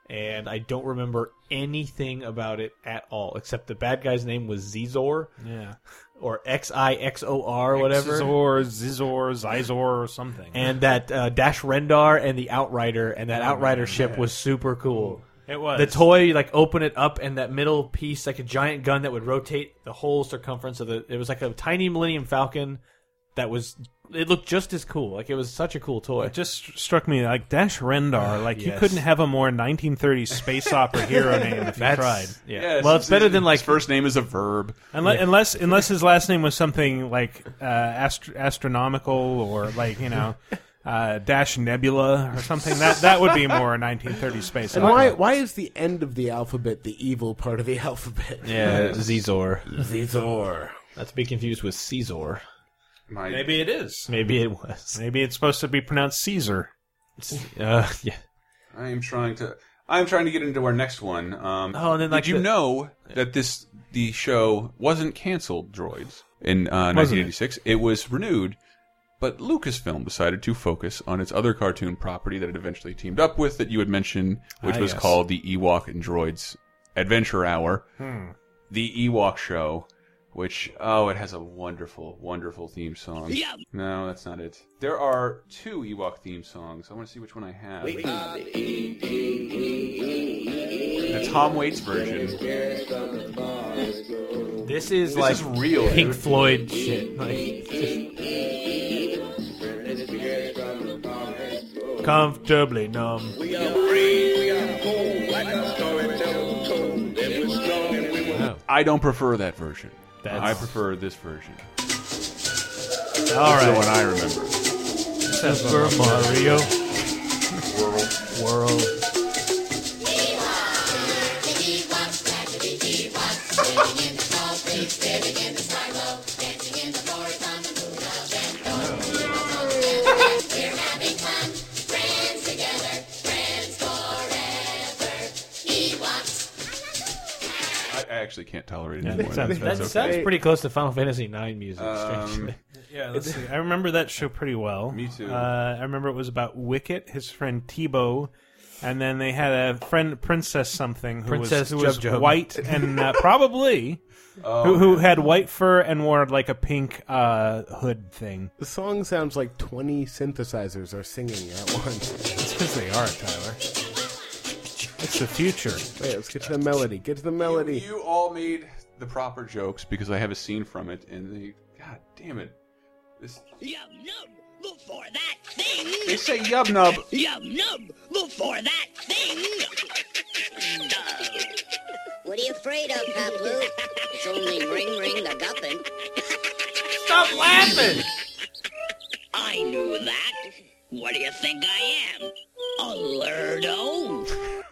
Speaker 5: And I don't remember anything about it at all, except the bad guy's name was Zizor
Speaker 4: Yeah.
Speaker 5: or X I X O R or whatever.
Speaker 4: Zizor, Zizor, Zizor, or something.
Speaker 5: and that uh, Dash Rendar and the Outrider, and that Outrider ship was super cool.
Speaker 4: it was
Speaker 5: The toy, you like open it up, and that middle piece, like a giant gun that would rotate the whole circumference of the. It was like a tiny Millennium Falcon that was. It looked just as cool. Like it was such a cool toy.
Speaker 4: It just struck me like Dash Rendar. Like you
Speaker 5: yes.
Speaker 4: couldn't have a more 1930s space opera hero name if you
Speaker 5: That's-
Speaker 4: tried.
Speaker 5: Yeah.
Speaker 3: Yes,
Speaker 5: well, it's better than like
Speaker 3: his first name is a verb.
Speaker 4: Unless, unless unless his last name was something like uh, ast- astronomical or like you know uh, Dash Nebula or something that that would be more 1930s space.
Speaker 6: And
Speaker 4: opera.
Speaker 6: why why is the end of the alphabet the evil part of the alphabet?
Speaker 5: yeah Zizor.
Speaker 6: Zizor.
Speaker 5: Not to be confused with Caesar.
Speaker 3: My,
Speaker 4: Maybe it is.
Speaker 5: Maybe it was.
Speaker 4: Maybe it's supposed to be pronounced Caesar.
Speaker 5: Uh, yeah.
Speaker 3: I am trying to. I am trying to get into our next one. Um,
Speaker 5: Oh, and then, like,
Speaker 3: did you
Speaker 5: the-
Speaker 3: know that this the show wasn't canceled? Droids in uh,
Speaker 4: Wasn't it?
Speaker 3: 1986. It? was renewed, but Lucasfilm decided to focus on its other cartoon property that it eventually teamed up with that you had mentioned, which
Speaker 4: Ah,
Speaker 3: was
Speaker 4: yes.
Speaker 3: called the Ewok and Droids Adventure Hour,
Speaker 4: Hmm.
Speaker 3: the Ewok Show. Which oh, it has a wonderful, wonderful theme song. Yeah. No, that's not it. There are two Ewok theme songs. I want to see which one I have. The Tom Waits version.
Speaker 5: This is
Speaker 3: This
Speaker 5: like
Speaker 3: is real,
Speaker 5: Pink
Speaker 3: dude.
Speaker 5: Floyd shit. Like, comfortably numb.
Speaker 3: I don't prefer that version.
Speaker 5: That's-
Speaker 3: I prefer this version.
Speaker 5: All
Speaker 3: That's the
Speaker 5: right,
Speaker 3: one I remember.
Speaker 5: Super Mario. World.
Speaker 3: I, I actually can't tolerate it anymore.
Speaker 4: sounds
Speaker 5: That sounds pretty close to Final Fantasy IX music.
Speaker 4: Um,
Speaker 5: strangely.
Speaker 4: Yeah, let's see. I remember that show pretty well.
Speaker 3: Me too.
Speaker 4: Uh, I remember it was about Wicket, his friend Tebow, and then they had a friend Princess something who was,
Speaker 5: Princess
Speaker 4: who was
Speaker 5: Jubjub.
Speaker 4: white and uh, probably
Speaker 3: Oh,
Speaker 4: who, who had white fur and wore like a pink uh, hood thing.
Speaker 6: The song sounds like twenty synthesizers are singing at once.
Speaker 4: That's because they are Tyler. It's the future.
Speaker 6: Wait, let's get to the melody. Get to the melody.
Speaker 3: You all made the proper jokes because I have a scene from it, and they. God damn it. This,
Speaker 10: Yum nub before that thing.
Speaker 3: they say yub nub.
Speaker 10: Yum nub before that thing.
Speaker 11: What are you afraid of, Papu? It's only ring ring the guppin.
Speaker 5: Stop laughing!
Speaker 10: I knew that. What do you think I am? A lerdo?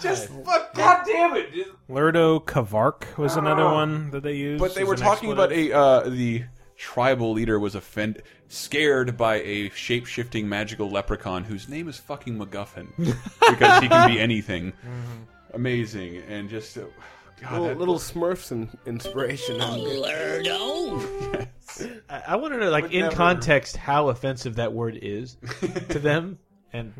Speaker 3: Just look, god damn it. Just-
Speaker 4: Lurdo Kavark was another one that they used.
Speaker 3: But they
Speaker 4: as
Speaker 3: were
Speaker 4: an
Speaker 3: talking about
Speaker 4: expletive.
Speaker 3: a uh, the tribal leader was offended, scared by a shape shifting magical leprechaun whose name is fucking MacGuffin because he can be anything. Mm-hmm. Amazing and just uh, God,
Speaker 6: Little,
Speaker 3: that-
Speaker 6: little Smurfs in, inspiration.
Speaker 8: Oh,
Speaker 10: Lerdo?
Speaker 5: I, I want to know, like,
Speaker 3: Would
Speaker 5: in
Speaker 3: never-
Speaker 5: context, how offensive that word is to them. And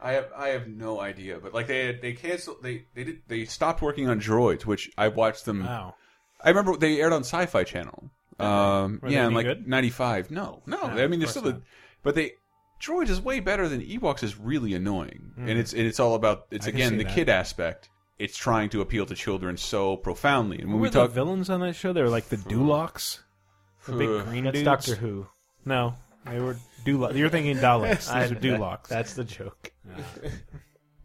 Speaker 3: I have I have no idea. But like they they canceled they they did they stopped working on droids, which I watched them.
Speaker 4: Wow.
Speaker 3: I remember they aired on Sci Fi Channel. Um,
Speaker 4: they
Speaker 3: yeah, in
Speaker 4: any
Speaker 3: like
Speaker 4: good?
Speaker 3: '95. No, no. I mean, they're still the, but they droids is way better than Ewoks is really annoying, and it's and it's all about it's
Speaker 4: Hmm. I can
Speaker 3: again
Speaker 4: see
Speaker 3: the
Speaker 4: that.
Speaker 3: kid aspect. It's trying to appeal to children so profoundly, and when
Speaker 4: Who
Speaker 3: we
Speaker 4: were the
Speaker 3: talk,
Speaker 4: villains on that show? They were like the Dulocks, the big
Speaker 3: Ugh.
Speaker 4: green
Speaker 5: that's
Speaker 4: dudes.
Speaker 5: Doctor Who.
Speaker 4: No, they were Duloc. You're thinking Daleks.
Speaker 5: I-
Speaker 4: These are Dulocs.
Speaker 5: That's the joke.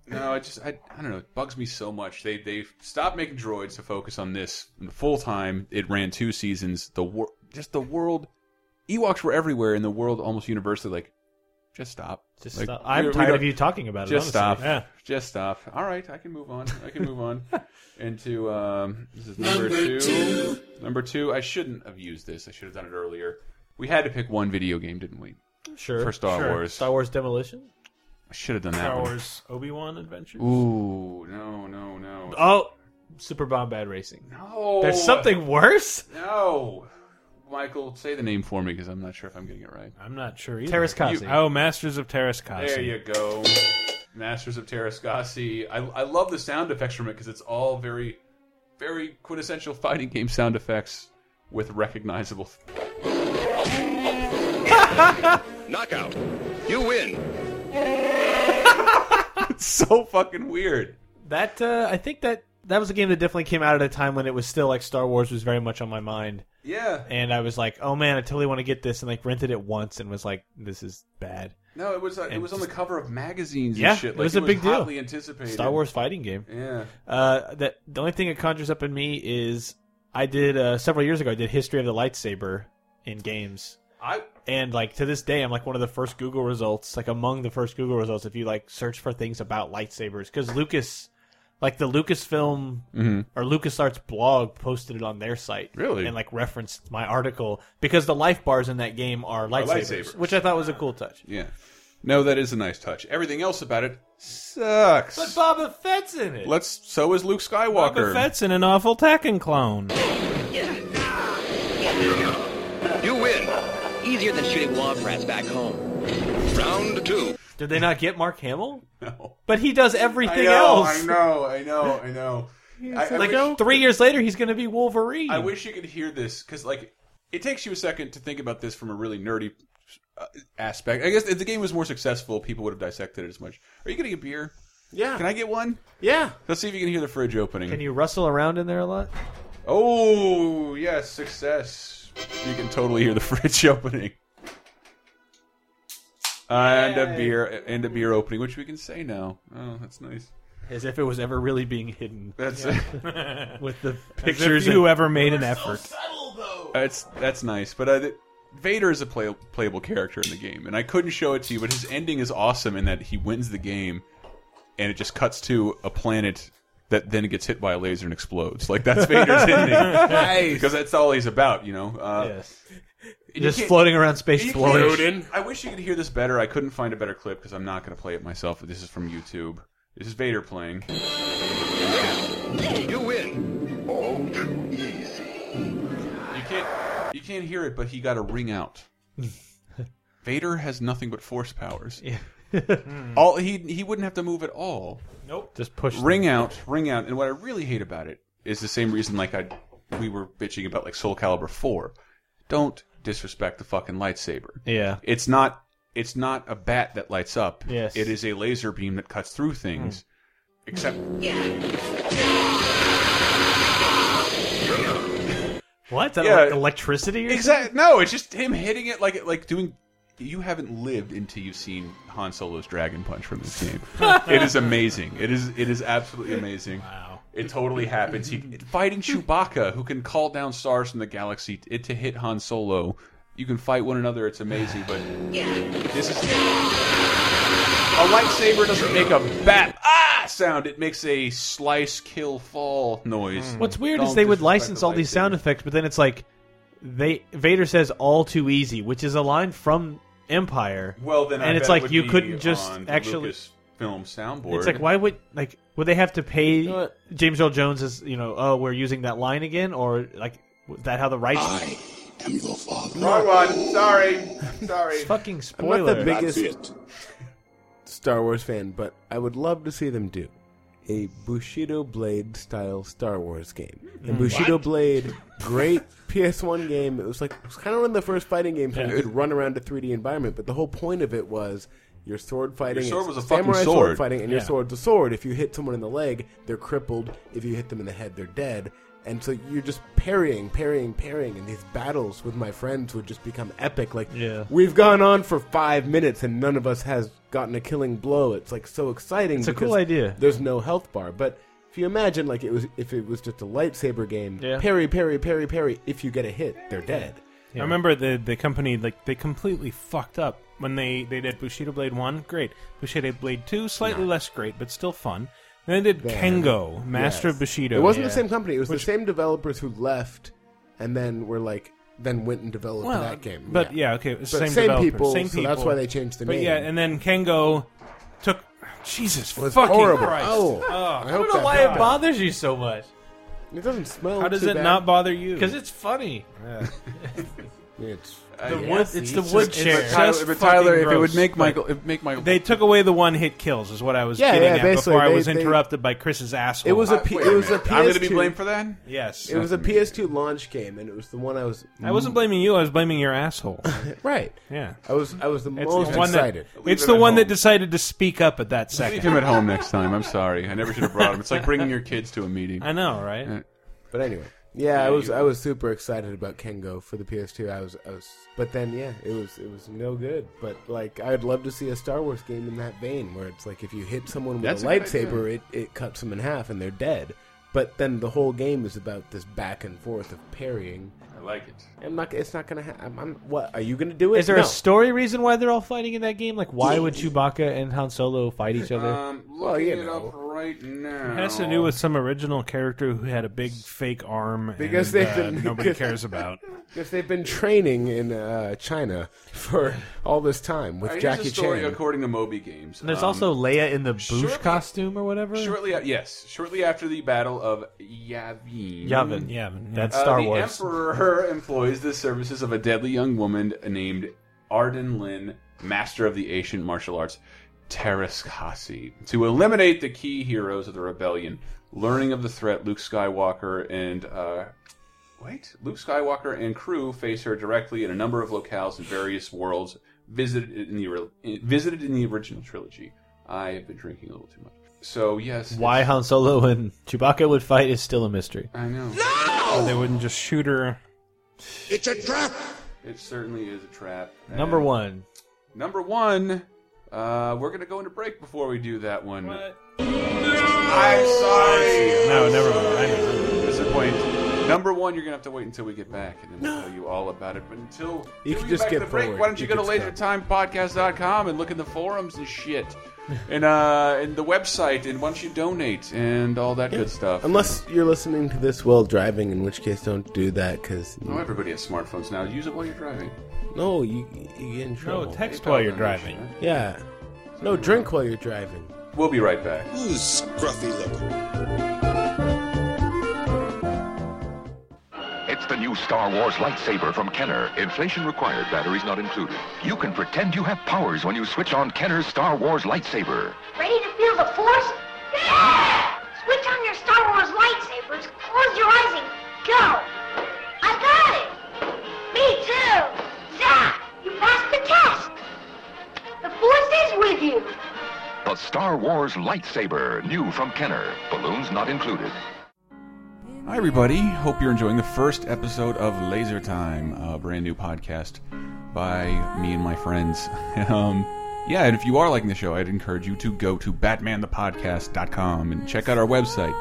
Speaker 3: no, it just I, I don't know. It bugs me so much. They they stopped making droids to focus on this full time. It ran two seasons. The wor just the world, Ewoks were everywhere in the world almost universally. Like, just stop.
Speaker 5: Just
Speaker 3: Like,
Speaker 5: stop. I'm
Speaker 3: we- we
Speaker 5: tired
Speaker 3: don't-
Speaker 5: of you talking about it.
Speaker 3: Just stop.
Speaker 5: honestly. Yeah.
Speaker 3: Just stop. All right, I can move on. I can move on into um, this is number,
Speaker 5: Number
Speaker 3: two.
Speaker 5: two.
Speaker 3: Number two. I shouldn't have used this. I should have done it earlier. We had to pick one video game, didn't we?
Speaker 5: Sure.
Speaker 3: For Star
Speaker 5: sure.
Speaker 3: Wars,
Speaker 5: Star Wars Demolition.
Speaker 3: I should have done that.
Speaker 4: Star
Speaker 3: one.
Speaker 4: Wars Obi Wan Adventures.
Speaker 3: Ooh, no, no, no.
Speaker 5: Oh, Super Bombad Racing.
Speaker 3: No.
Speaker 5: Oh, There's something worse.
Speaker 3: No. Michael, say the name for me because I'm not sure if I'm getting it right.
Speaker 4: I'm not sure either.
Speaker 5: Terrascasi.
Speaker 4: You- Oh, Masters of Terrascasi.
Speaker 3: There you go. Masters of Terrascasi. I, I love the sound effects from it because it's all very, very quintessential fighting game sound effects with recognizable.
Speaker 8: Knockout. You win.
Speaker 3: it's so fucking weird.
Speaker 5: That uh, I think that that was a game that definitely came out at a time when it was still like Star Wars was very much on my mind.
Speaker 3: Yeah.
Speaker 5: And I was like, oh man, I totally want to get this, and like rented it once and was like, this is bad.
Speaker 3: No, it was uh, it
Speaker 5: And
Speaker 3: was on the cover of magazines
Speaker 5: yeah,
Speaker 3: and shit.
Speaker 5: it
Speaker 3: Like,
Speaker 5: was a big deal.
Speaker 3: hotly anticipated.
Speaker 5: Star Wars fighting game.
Speaker 3: Yeah.
Speaker 5: Uh, that the only thing it conjures up in me is I did uh, several years ago. I did history of the lightsaber in games.
Speaker 3: I
Speaker 5: And like to this day, I'm like one of the first Google results, like among the first Google results. If you like search for things about lightsabers, because Lucas, like the Lucasfilm
Speaker 3: Mhm.
Speaker 5: or LucasArts blog, posted it on their site,
Speaker 3: Really?
Speaker 5: and like referenced my article because the life bars in that game are lightsabers,
Speaker 3: lightsabers.
Speaker 5: which I thought was a cool touch.
Speaker 3: Yeah. No, that is a nice touch. Everything else about it sucks.
Speaker 5: But Boba Fett's in it.
Speaker 3: Let's. So is Luke
Speaker 4: Boba
Speaker 3: Skywalker.
Speaker 4: Fett's in an awful Tekken clone.
Speaker 8: You win. Easier than shooting log rats back home. Round two.
Speaker 5: Did they not get Mark Hamill?
Speaker 3: No.
Speaker 5: But he does everything else.
Speaker 3: I know. I know. I know. I, I
Speaker 5: Like "Oh."
Speaker 3: wish,
Speaker 5: three years later, he's going to be Wolverine.
Speaker 3: I wish you could hear this because, like, it takes you a second to think about this from a really nerdy uh, aspect. I guess if the game was more successful, people would have dissected it as much. Are you getting a beer?
Speaker 6: Yeah.
Speaker 3: Can I get one?
Speaker 6: yeah.
Speaker 3: Let's see if you can hear the fridge opening.
Speaker 5: Can you rustle around in there a lot?
Speaker 3: Oh yes, success! You can totally hear the fridge opening. And a beer, and a beer opening, which we can say now. Oh, that's nice.
Speaker 5: As if it was ever really being hidden
Speaker 3: That's
Speaker 5: with the
Speaker 4: As
Speaker 5: pictures.
Speaker 4: if you ever made an effort.
Speaker 3: That's that's nice, but uh, th- Vader is a play, playable character in the game, and I couldn't show it to you, but his ending is awesome in that he wins the game, and it just cuts to a planet that then gets hit by a laser and explodes. Like that's Vader's ending,
Speaker 6: Nice.
Speaker 3: because that's all he's about, you know. Uh,
Speaker 5: yes.
Speaker 3: you
Speaker 5: Just
Speaker 3: can't-
Speaker 5: floating around space,
Speaker 3: you can't-
Speaker 5: floating.
Speaker 3: I wish you could hear this better. I couldn't find a better clip because I'm not going to play it myself. But this is from YouTube. This is Vader playing.
Speaker 8: You win.
Speaker 9: All too easy.
Speaker 3: You can't you can't hear it, but he got a ring out. Vader has nothing but force powers. all he he wouldn't have to move at all.
Speaker 5: Just push.
Speaker 3: Ring out, ring out, and what I really hate about it is the same reason like I we were bitching about like Soul Calibur four. Don't disrespect the fucking lightsaber.
Speaker 5: Yeah.
Speaker 3: It's not it's not a bat that lights up.
Speaker 5: Yes.
Speaker 3: It is a laser beam that cuts through things. Except
Speaker 5: What? That
Speaker 3: Yeah.
Speaker 5: like electricity? Or
Speaker 3: Exactly. No, it's just him hitting it like like doing. You haven't lived until you've seen Han Solo's Dragon Punch from this game. it is amazing. It is it is absolutely amazing. Wow. It totally happens. He fighting Chewbacca, who can call down stars from the galaxy t- to hit Han Solo. You can fight one another. It's amazing. But this is a lightsaber doesn't make a bat ah sound. It makes a slice, kill, fall noise.
Speaker 5: What's weird is
Speaker 3: Don't
Speaker 5: they would
Speaker 3: disrespect
Speaker 5: license
Speaker 3: the
Speaker 5: all these
Speaker 3: lightsaber.
Speaker 5: sound effects, but then it's like they Vader says "all too easy," which is a line from Empire.
Speaker 3: Well, then, I
Speaker 5: and it's like
Speaker 3: bet it would
Speaker 5: you
Speaker 3: be
Speaker 5: couldn't just
Speaker 3: on the
Speaker 5: actually.
Speaker 3: film soundboard.
Speaker 5: It's like why would like would they have to pay James Earl Jones as you know? Oh, we're using that line again, or like was that how the rights?
Speaker 9: I am your father.
Speaker 3: Wrong one. Sorry, sorry.
Speaker 5: Fucking
Speaker 6: I'm
Speaker 5: spoiler!
Speaker 6: not the
Speaker 8: That's it.
Speaker 6: biggest Star Wars fan, but I would love to see them do a Bushido Blade style Star Wars game.
Speaker 3: Mm.
Speaker 6: And Bushido Blade, great PS1 game. It was like it was kind of one of the first fighting games where you could run around a 3D environment, but the whole point of it was your sword fighting.
Speaker 3: sword
Speaker 6: it's
Speaker 3: was a fucking
Speaker 6: samurai
Speaker 3: sword.
Speaker 6: fighting, and your sword's a sword. If you hit someone in the leg, they're crippled. If you hit them in the head, they're dead. And so you're just parrying, parrying, parrying, and these battles with my friends would just become epic. Like
Speaker 5: Yeah.
Speaker 6: We've gone on for five minutes and none of us has gotten a killing blow. It's like so exciting.
Speaker 5: It's a
Speaker 6: because
Speaker 5: cool idea.
Speaker 6: There's no health bar, but if you imagine like it was if it was just a lightsaber game,
Speaker 5: Yeah.
Speaker 6: parry, parry, parry, parry. If you get a hit, they're dead.
Speaker 4: I remember the the company like they completely fucked up when they they did Bushido Blade One, great. Bushido Blade Two, slightly less great, but still fun. Then they did Kengo, Master of
Speaker 6: Yes.
Speaker 5: Oh,
Speaker 4: Bushido.
Speaker 6: It wasn't the same company. It was the same developers who left and then were like, then went and developed
Speaker 4: Well,
Speaker 6: that game.
Speaker 4: But yeah, okay, it was
Speaker 6: But
Speaker 4: same, developer,
Speaker 6: people.
Speaker 4: same
Speaker 6: so
Speaker 4: people.
Speaker 6: that's why they changed the
Speaker 4: but
Speaker 6: name.
Speaker 4: yeah, and then Kengo took Jesus
Speaker 6: was
Speaker 4: fucking
Speaker 6: horrible.
Speaker 4: Christ.
Speaker 6: Oh,
Speaker 4: Ugh.
Speaker 6: I hope
Speaker 5: don't know
Speaker 6: that
Speaker 5: why
Speaker 6: died.
Speaker 5: it bothers you so much.
Speaker 6: It doesn't smell.
Speaker 4: How does
Speaker 6: too
Speaker 4: it
Speaker 6: bad.
Speaker 4: not bother you?
Speaker 5: Because it's funny.
Speaker 6: It's
Speaker 5: The
Speaker 3: yeah,
Speaker 5: wood.
Speaker 3: see,
Speaker 5: It's the
Speaker 3: it's
Speaker 5: wood
Speaker 3: just-
Speaker 5: chair.
Speaker 3: it's Tyler-
Speaker 4: Just
Speaker 3: but Tyler,
Speaker 4: fucking
Speaker 3: if it would
Speaker 4: gross.
Speaker 3: make Michael-
Speaker 4: But
Speaker 3: if make Michael-
Speaker 4: they took away the one hit kills, is what I was
Speaker 6: Yeah,
Speaker 4: getting
Speaker 6: yeah,
Speaker 4: at
Speaker 6: basically,
Speaker 4: before I
Speaker 6: they-
Speaker 4: was
Speaker 6: they-
Speaker 4: interrupted by Chris's asshole.
Speaker 6: It was a P- it was a
Speaker 3: I'm going to be
Speaker 6: PS2.
Speaker 3: blamed for that.
Speaker 4: yes.
Speaker 6: It was a PS2 launch game, and it was the one I was.
Speaker 4: I wasn't blaming you. I was blaming your asshole.
Speaker 6: right.
Speaker 4: Yeah.
Speaker 6: I was. I was the
Speaker 4: It's
Speaker 6: most
Speaker 4: the one
Speaker 6: excited.
Speaker 4: that
Speaker 3: Leave
Speaker 4: it's
Speaker 3: it
Speaker 4: the
Speaker 3: at
Speaker 4: one that
Speaker 3: home.
Speaker 4: decided to speak up at that
Speaker 3: Leave
Speaker 4: second.
Speaker 3: him at home next time. I'm sorry. I never should have brought him. It's like bringing your kids to a meeting.
Speaker 4: I know, right?
Speaker 6: But anyway, yeah, I was. I was super excited about Kengo for the PS2. I was. I was. But then, yeah, it was. It was no good. But like, I'd love to see a Star Wars game in that vein, where it's like if you hit someone with
Speaker 3: That's
Speaker 6: a
Speaker 3: a good idea.
Speaker 6: lightsaber, it it cuts them in half and they're dead. But then the whole game is about this back and forth of parrying.
Speaker 3: I like it.
Speaker 6: I'm not. It's not gonna. Ha- I'm, I'm. What are you gonna do? It?
Speaker 5: Is there
Speaker 6: no.
Speaker 5: a story reason why they're all fighting in that game? Like, why would Chewbacca and Han Solo fight each other?
Speaker 3: Um,
Speaker 6: Well,
Speaker 3: looking
Speaker 6: you
Speaker 3: it
Speaker 6: know.
Speaker 3: up right now.
Speaker 4: It has to do with some original character who had a big fake arm
Speaker 6: Because
Speaker 4: and,
Speaker 6: they've
Speaker 4: uh,
Speaker 6: been-
Speaker 4: nobody cares about.
Speaker 6: Because they've been training in uh, China for all this time with
Speaker 3: All right, here's
Speaker 6: Jackie
Speaker 3: a story
Speaker 6: Chan.
Speaker 3: according to Moby Games.
Speaker 5: And there's
Speaker 3: Um,
Speaker 5: also Leia in the Boosh
Speaker 3: shortly-
Speaker 5: costume or whatever.
Speaker 3: shortly. a- Yes, shortly after the Battle of
Speaker 5: Yavin.
Speaker 3: Yavin.
Speaker 4: Yeah, but- yeah.
Speaker 5: That's
Speaker 3: Uh,
Speaker 5: Star
Speaker 3: the
Speaker 5: Wars.
Speaker 3: Emperor employs the services of a deadly young woman named Arden Lin, master of the ancient martial arts Tereskasi, to eliminate the key heroes of the rebellion. Learning of the threat, Luke Skywalker and uh, wait, Luke Skywalker and crew face her directly in a number of locales in various worlds visited in the ori- visited in the original trilogy. I have been drinking a little too much, so yes.
Speaker 5: Why
Speaker 3: it's-
Speaker 5: Han Solo and Chewbacca would fight is still a mystery.
Speaker 3: I know
Speaker 4: They wouldn't just shoot her.
Speaker 11: It's a trap!
Speaker 3: it certainly is a trap.
Speaker 5: Number
Speaker 3: And-
Speaker 5: one.
Speaker 3: Number one, uh, we're gonna go into break before we do that one. I'm sorry.
Speaker 4: No, never mind. I know.
Speaker 3: It's a point. Number one, you're gonna have to wait until we get back, and then we'll tell you all about it. But until
Speaker 6: You
Speaker 3: until
Speaker 6: can
Speaker 3: we
Speaker 6: just
Speaker 3: back to
Speaker 6: get
Speaker 3: the break,
Speaker 6: forward.
Speaker 3: why don't you,
Speaker 6: You
Speaker 3: go to
Speaker 6: can
Speaker 3: LaserTimePodcast.com and look in the forums and shit, and uh, and the website, and once you donate and all that good stuff.
Speaker 6: Unless you're listening to this while driving, in which case don't do that because
Speaker 3: Oh, everybody has smartphones now. Use it while you're driving.
Speaker 6: no, you you get in trouble.
Speaker 5: Oh,
Speaker 4: No, text while you're driving.
Speaker 6: yeah, no, drink while you're driving.
Speaker 3: We'll be right back.
Speaker 9: Who's scruffy looking?
Speaker 12: It's the new Star Wars lightsaber from Kenner. Inflation required, batteries not included. You can pretend you have powers when you switch on Kenner's Star Wars lightsaber.
Speaker 13: Ready to feel the force? Yeah! Switch on your Star Wars lightsabers, close your eyes and go! I got it! Me too! Zah! You passed the test! The force is with you!
Speaker 12: The Star Wars lightsaber, new from Kenner. Balloons not included.
Speaker 3: Hi, everybody. Hope you're enjoying the first episode of Laser Time, a brand new podcast by me and my friends. um, yeah, and if you are liking the show, I'd encourage you to go to batmanthepodcast.com and check out our website.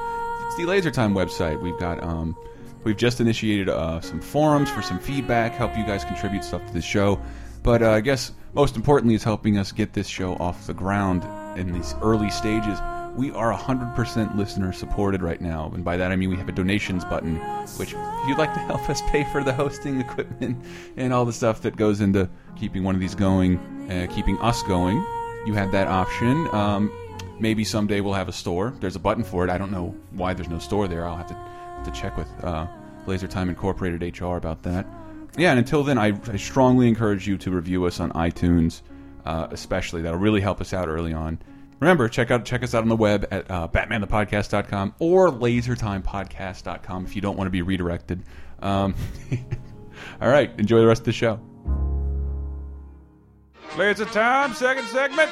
Speaker 3: It's the Laser Time website. We've got um, we've just initiated uh, some forums for some feedback, help you guys contribute stuff to the show. But uh, I guess most importantly is helping us get this show off the ground in these early stages. We are 100% listener supported right now, and by that I mean we have a donations button, which if you'd like to help us pay for the hosting equipment and all the stuff that goes into keeping one of these going, uh, keeping us going, you have that option. Um, maybe someday we'll have a store. There's a button for it. I don't know why there's no store there. I'll have to have to check with uh, Laser Time Incorporated HR about that. Yeah, and until then, I, I strongly encourage you to review us on iTunes, uh, especially. That'll really help us out early on. Remember, check out check us out on the web at uh, batmanthepodcast.com or lasertimepodcast.com if you don't want to be redirected. Um, all right, enjoy the rest of the show. Laser time, second segment.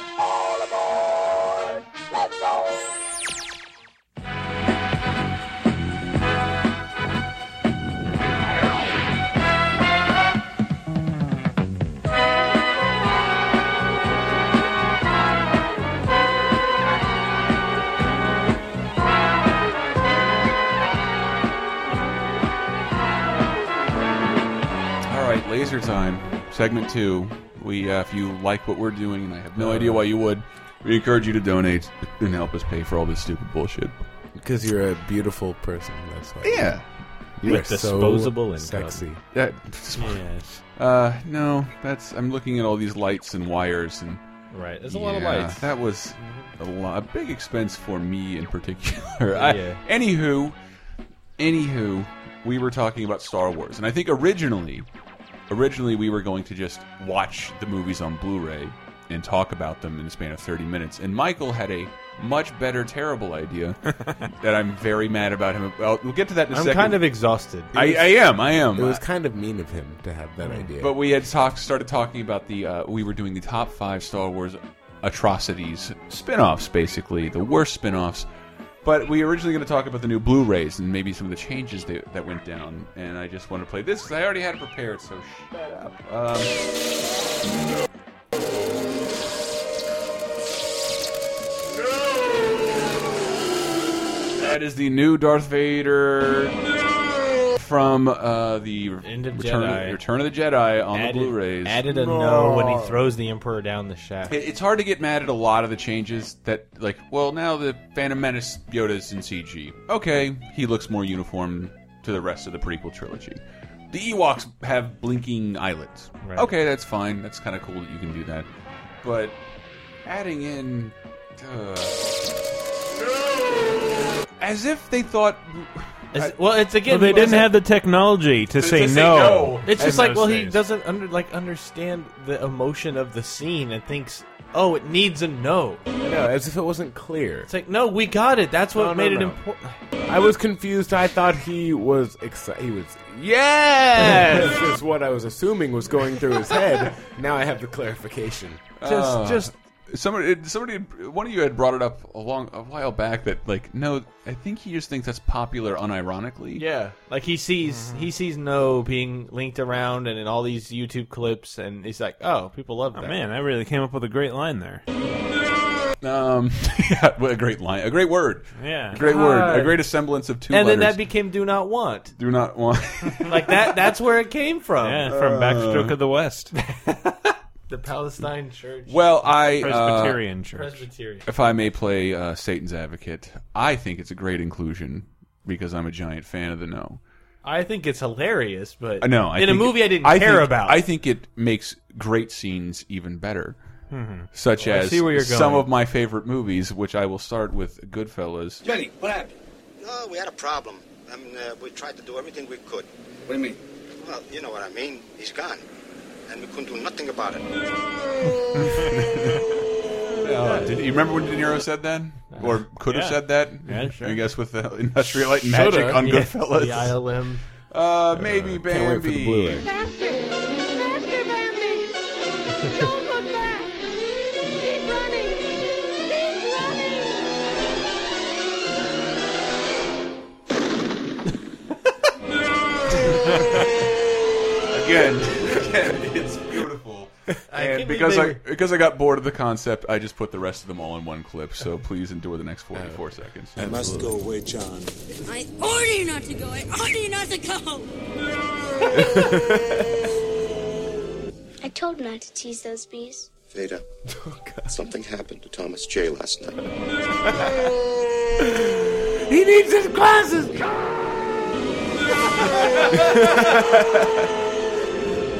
Speaker 3: All right, Laser Time, segment two. We, uh, if you like what we're doing, and I have no idea why you would, we encourage you to donate and help us pay for all this stupid bullshit.
Speaker 6: Because you're a beautiful person. That's why.
Speaker 3: Yeah.
Speaker 6: You're
Speaker 14: With disposable
Speaker 6: so
Speaker 14: income.
Speaker 6: sexy.
Speaker 3: That, Uh, no, that's. I'm looking at all these lights and wires and.
Speaker 14: Right, there's a lot of
Speaker 3: Yeah,
Speaker 14: lights.
Speaker 3: That was a, lo- a big expense for me in particular.
Speaker 14: Yeah.
Speaker 3: I, anywho, anywho, we were talking about Star Wars, and I think originally, originally we were going to just watch the movies on Blu-ray and talk about them in a span of 30 minutes. And Michael had a much better terrible idea that I'm very mad about him. About. We'll get to that in a
Speaker 5: I'm
Speaker 3: second.
Speaker 5: kind of exhausted.
Speaker 3: I, I am. I am.
Speaker 6: It was kind of mean of him to have that idea.
Speaker 3: Mm. But we had talked, started talking about the. Uh, we were doing the top five Star Wars atrocities spin-offs, basically the worst spin-offs. But we were originally going to talk about the new Blu-rays and maybe some of the changes that, that went down. And I just want to play this 'cause I already had it prepared, so shut up. Um, That is the new Darth Vader from uh, the
Speaker 5: End of
Speaker 3: Return,
Speaker 5: Jedi.
Speaker 3: Return of the Jedi on
Speaker 5: added,
Speaker 3: the Blu-rays.
Speaker 5: Added a no when he throws the Emperor down the shaft.
Speaker 3: It- It's hard to get mad at a lot of the changes that, like, well, now the Phantom Menace Yoda's in CG. Okay, he looks more uniform to the rest of the prequel trilogy. The Ewoks have blinking eyelids. Okay, that's fine. That's kind of cool that you can do that. But adding in. Uh, as if they thought.
Speaker 5: well, it's again.
Speaker 4: Well, they didn't have the
Speaker 5: the.
Speaker 4: technology to, say,
Speaker 3: say
Speaker 4: no.
Speaker 3: no.
Speaker 5: It's just
Speaker 4: And
Speaker 5: like, well,
Speaker 4: those
Speaker 5: he
Speaker 4: things.
Speaker 5: doesn't under like understand the emotion of the scene and thinks, oh, it needs a no.
Speaker 6: No, as if it wasn't clear.
Speaker 5: It's like, no, we got it. That's what
Speaker 6: No, no,
Speaker 5: made it
Speaker 6: no.
Speaker 5: important.
Speaker 6: I was confused. I thought he was excited. He was yes. This is what I was assuming was going through his head. Now I have the clarification.
Speaker 3: Uh, somebody it- somebody one of you had brought it up a long a while back that like no I think he just thinks that's popular unironically.
Speaker 5: Yeah, like he sees he sees no being linked around and in all these YouTube clips, and he's like, oh, people love that.
Speaker 4: Man, I really came up with a great line there.
Speaker 3: Um yeah, what a great line. A great word.
Speaker 4: Yeah.
Speaker 3: A great word. A
Speaker 5: God.
Speaker 3: great semblance of two
Speaker 5: and
Speaker 3: letters.
Speaker 5: then that became "Do Not Want."
Speaker 3: Do not want
Speaker 5: Like that. That's where it came from.
Speaker 4: Yeah, from Backstroke of the West.
Speaker 5: the Palestine Church.
Speaker 3: Well, I uh,
Speaker 4: Presbyterian church.
Speaker 5: Presbyterian.
Speaker 3: If I may play uh, Satan's advocate, I think it's a great inclusion because I'm a giant fan of the no.
Speaker 5: I think it's hilarious, but
Speaker 3: Uh, No, I
Speaker 5: in a
Speaker 3: think-
Speaker 5: movie I didn't care
Speaker 3: think-
Speaker 5: about.
Speaker 3: I think it makes great scenes even better.
Speaker 5: Mhm.
Speaker 3: Such
Speaker 5: Oh, I
Speaker 3: as
Speaker 5: see where you're
Speaker 3: some
Speaker 5: going.
Speaker 3: of my favorite movies, which I will start with Goodfellas.
Speaker 15: Jenny, what happened?
Speaker 11: Oh, we had a problem. I mean, uh, we tried to do everything we could.
Speaker 15: What do you mean?
Speaker 11: Well, you know what I mean. He's gone. And we couldn't do nothing about it.
Speaker 3: Uh, did you remember when De Niro said that, or could have
Speaker 14: Yeah.
Speaker 3: said that?
Speaker 14: Yeah, sure.
Speaker 3: I guess with the Industrial Light and
Speaker 14: Shoulda.
Speaker 3: Magic on
Speaker 14: Yeah.
Speaker 3: Goodfellas,
Speaker 14: The ILM.
Speaker 3: Uh, maybe
Speaker 14: can't wait for the
Speaker 3: Bambi.
Speaker 14: Blu-ray.
Speaker 13: Faster! Faster, Bambi! Don't look back! Keep running! Keep
Speaker 3: again, again, it's beautiful.
Speaker 5: I can't
Speaker 3: and
Speaker 5: believe
Speaker 3: because
Speaker 5: they
Speaker 3: I
Speaker 5: were-
Speaker 3: because I got bored of the concept, I just put the rest of them all in one clip. So please endure the next forty
Speaker 5: Uh,
Speaker 3: four seconds.
Speaker 16: I must go away, John.
Speaker 13: I order you not to go! I order you not to go!
Speaker 17: I told him not to tease those bees.
Speaker 11: Veda, something happened to Thomas J. last night.
Speaker 13: He needs his glasses!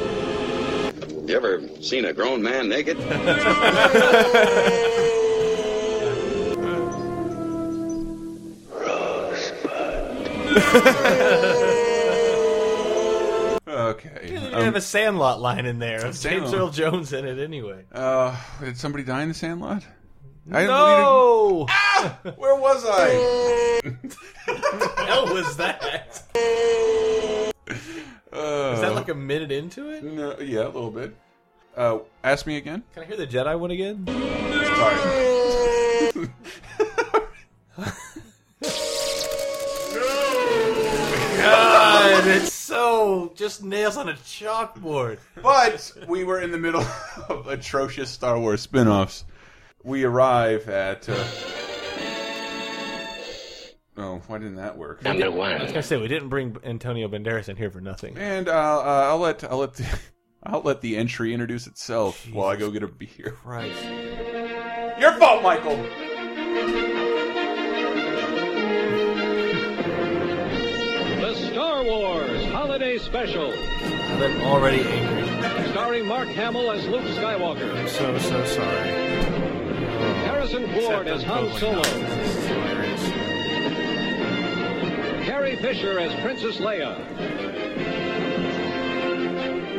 Speaker 11: You ever seen a grown man naked?
Speaker 3: Okay.
Speaker 5: You
Speaker 3: um,
Speaker 5: have a Sandlot line in there. Of James
Speaker 3: Sandlot.
Speaker 5: Earl Jones in it anyway.
Speaker 3: Uh, did somebody die in the Sandlot?
Speaker 5: No!
Speaker 3: Ah! Where was I?
Speaker 5: hell was that?
Speaker 3: Uh,
Speaker 5: Is that like a minute into it?
Speaker 3: No, yeah, a little bit. Uh, ask me again.
Speaker 5: Can I hear the Jedi one again?
Speaker 3: Sorry.
Speaker 5: God, it's so just nails on a chalkboard.
Speaker 3: But we were in the middle of atrocious Star Wars spin-offs. We arrive at. Uh... Oh, why didn't that work?
Speaker 5: I was gonna say we didn't bring Antonio Banderas in here for nothing.
Speaker 3: And uh, uh, I'll let I'll let the, I'll let the entry introduce itself while I go get a beer.
Speaker 5: Right.
Speaker 3: Your fault, Michael.
Speaker 15: The Star Wars Holiday Special.
Speaker 5: I'm already angry.
Speaker 15: Starring Mark Hamill as Luke Skywalker.
Speaker 4: So, so sorry.
Speaker 15: Harrison
Speaker 5: Oh,
Speaker 15: Ford as Han Solo. Carrie Fisher as Princess Leia.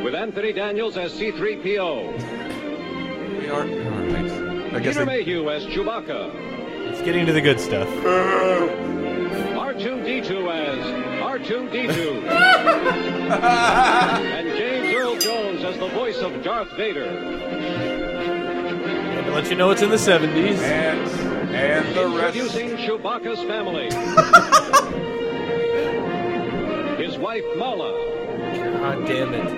Speaker 15: With Anthony Daniels as C-3PO.
Speaker 3: We are. I guess
Speaker 15: Peter
Speaker 3: they-
Speaker 15: Mayhew as Chewbacca.
Speaker 5: It's getting to the good stuff.
Speaker 15: R2-D2 as R2-D2. and James Earl Jones as the voice of Darth Vader.
Speaker 5: Had to let you know it's in the 70s.
Speaker 3: And,
Speaker 5: and
Speaker 15: Introducing Chewbacca's family. His wife Mala.
Speaker 5: God damn it.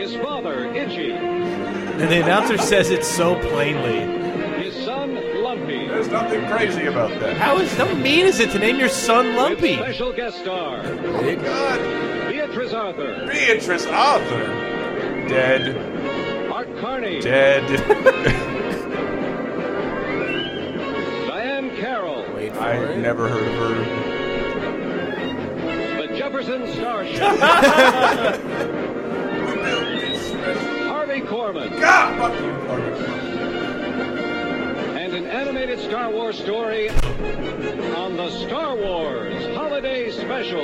Speaker 15: His father Itchy.
Speaker 5: And the announcer says it so plainly.
Speaker 15: His son Lumpy.
Speaker 3: There's nothing crazy about that.
Speaker 5: How is how mean is it to name your son Lumpy?
Speaker 15: Special guest star. Beatrice Arthur.
Speaker 3: Beatrice Arthur. Dead.
Speaker 15: Art Carney.
Speaker 3: Dead.
Speaker 15: Diane Carroll.
Speaker 3: I never heard of her.
Speaker 15: The Jefferson Starship. Harvey Corman.
Speaker 3: God, fuck you,
Speaker 15: And an animated Star Wars story on the Star Wars Holiday Special.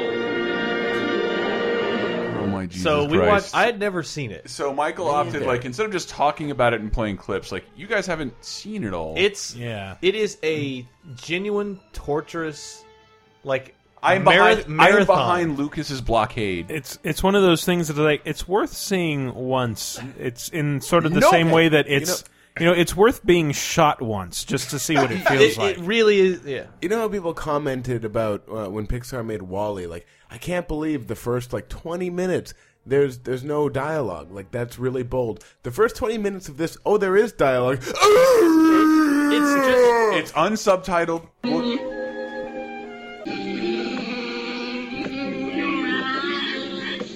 Speaker 3: Oh my Jesus
Speaker 5: so we
Speaker 3: Christ.
Speaker 5: watched. I had never seen it.
Speaker 3: So Michael opted like instead of just talking about it and playing clips, like you guys haven't seen it all.
Speaker 5: It's
Speaker 4: yeah.
Speaker 5: It is a genuine torturous, like
Speaker 3: I'm
Speaker 5: marath-
Speaker 3: behind. I'm
Speaker 5: marathon.
Speaker 3: behind Lucas's blockade.
Speaker 4: It's it's one of those things that like it's worth seeing once. It's in sort of the
Speaker 5: No.
Speaker 4: same way that
Speaker 5: You
Speaker 4: it's you know, it's worth being shot once just to see what it feels like.
Speaker 5: really is. Yeah.
Speaker 6: You know how people commented about uh, when Pixar made Wally? Like, I can't believe the first like 20 minutes. There's there's no dialogue. Like that's really bold. The first 20 minutes of this. Oh, there is dialogue.
Speaker 5: It's just
Speaker 3: It's unsubtitled. Well,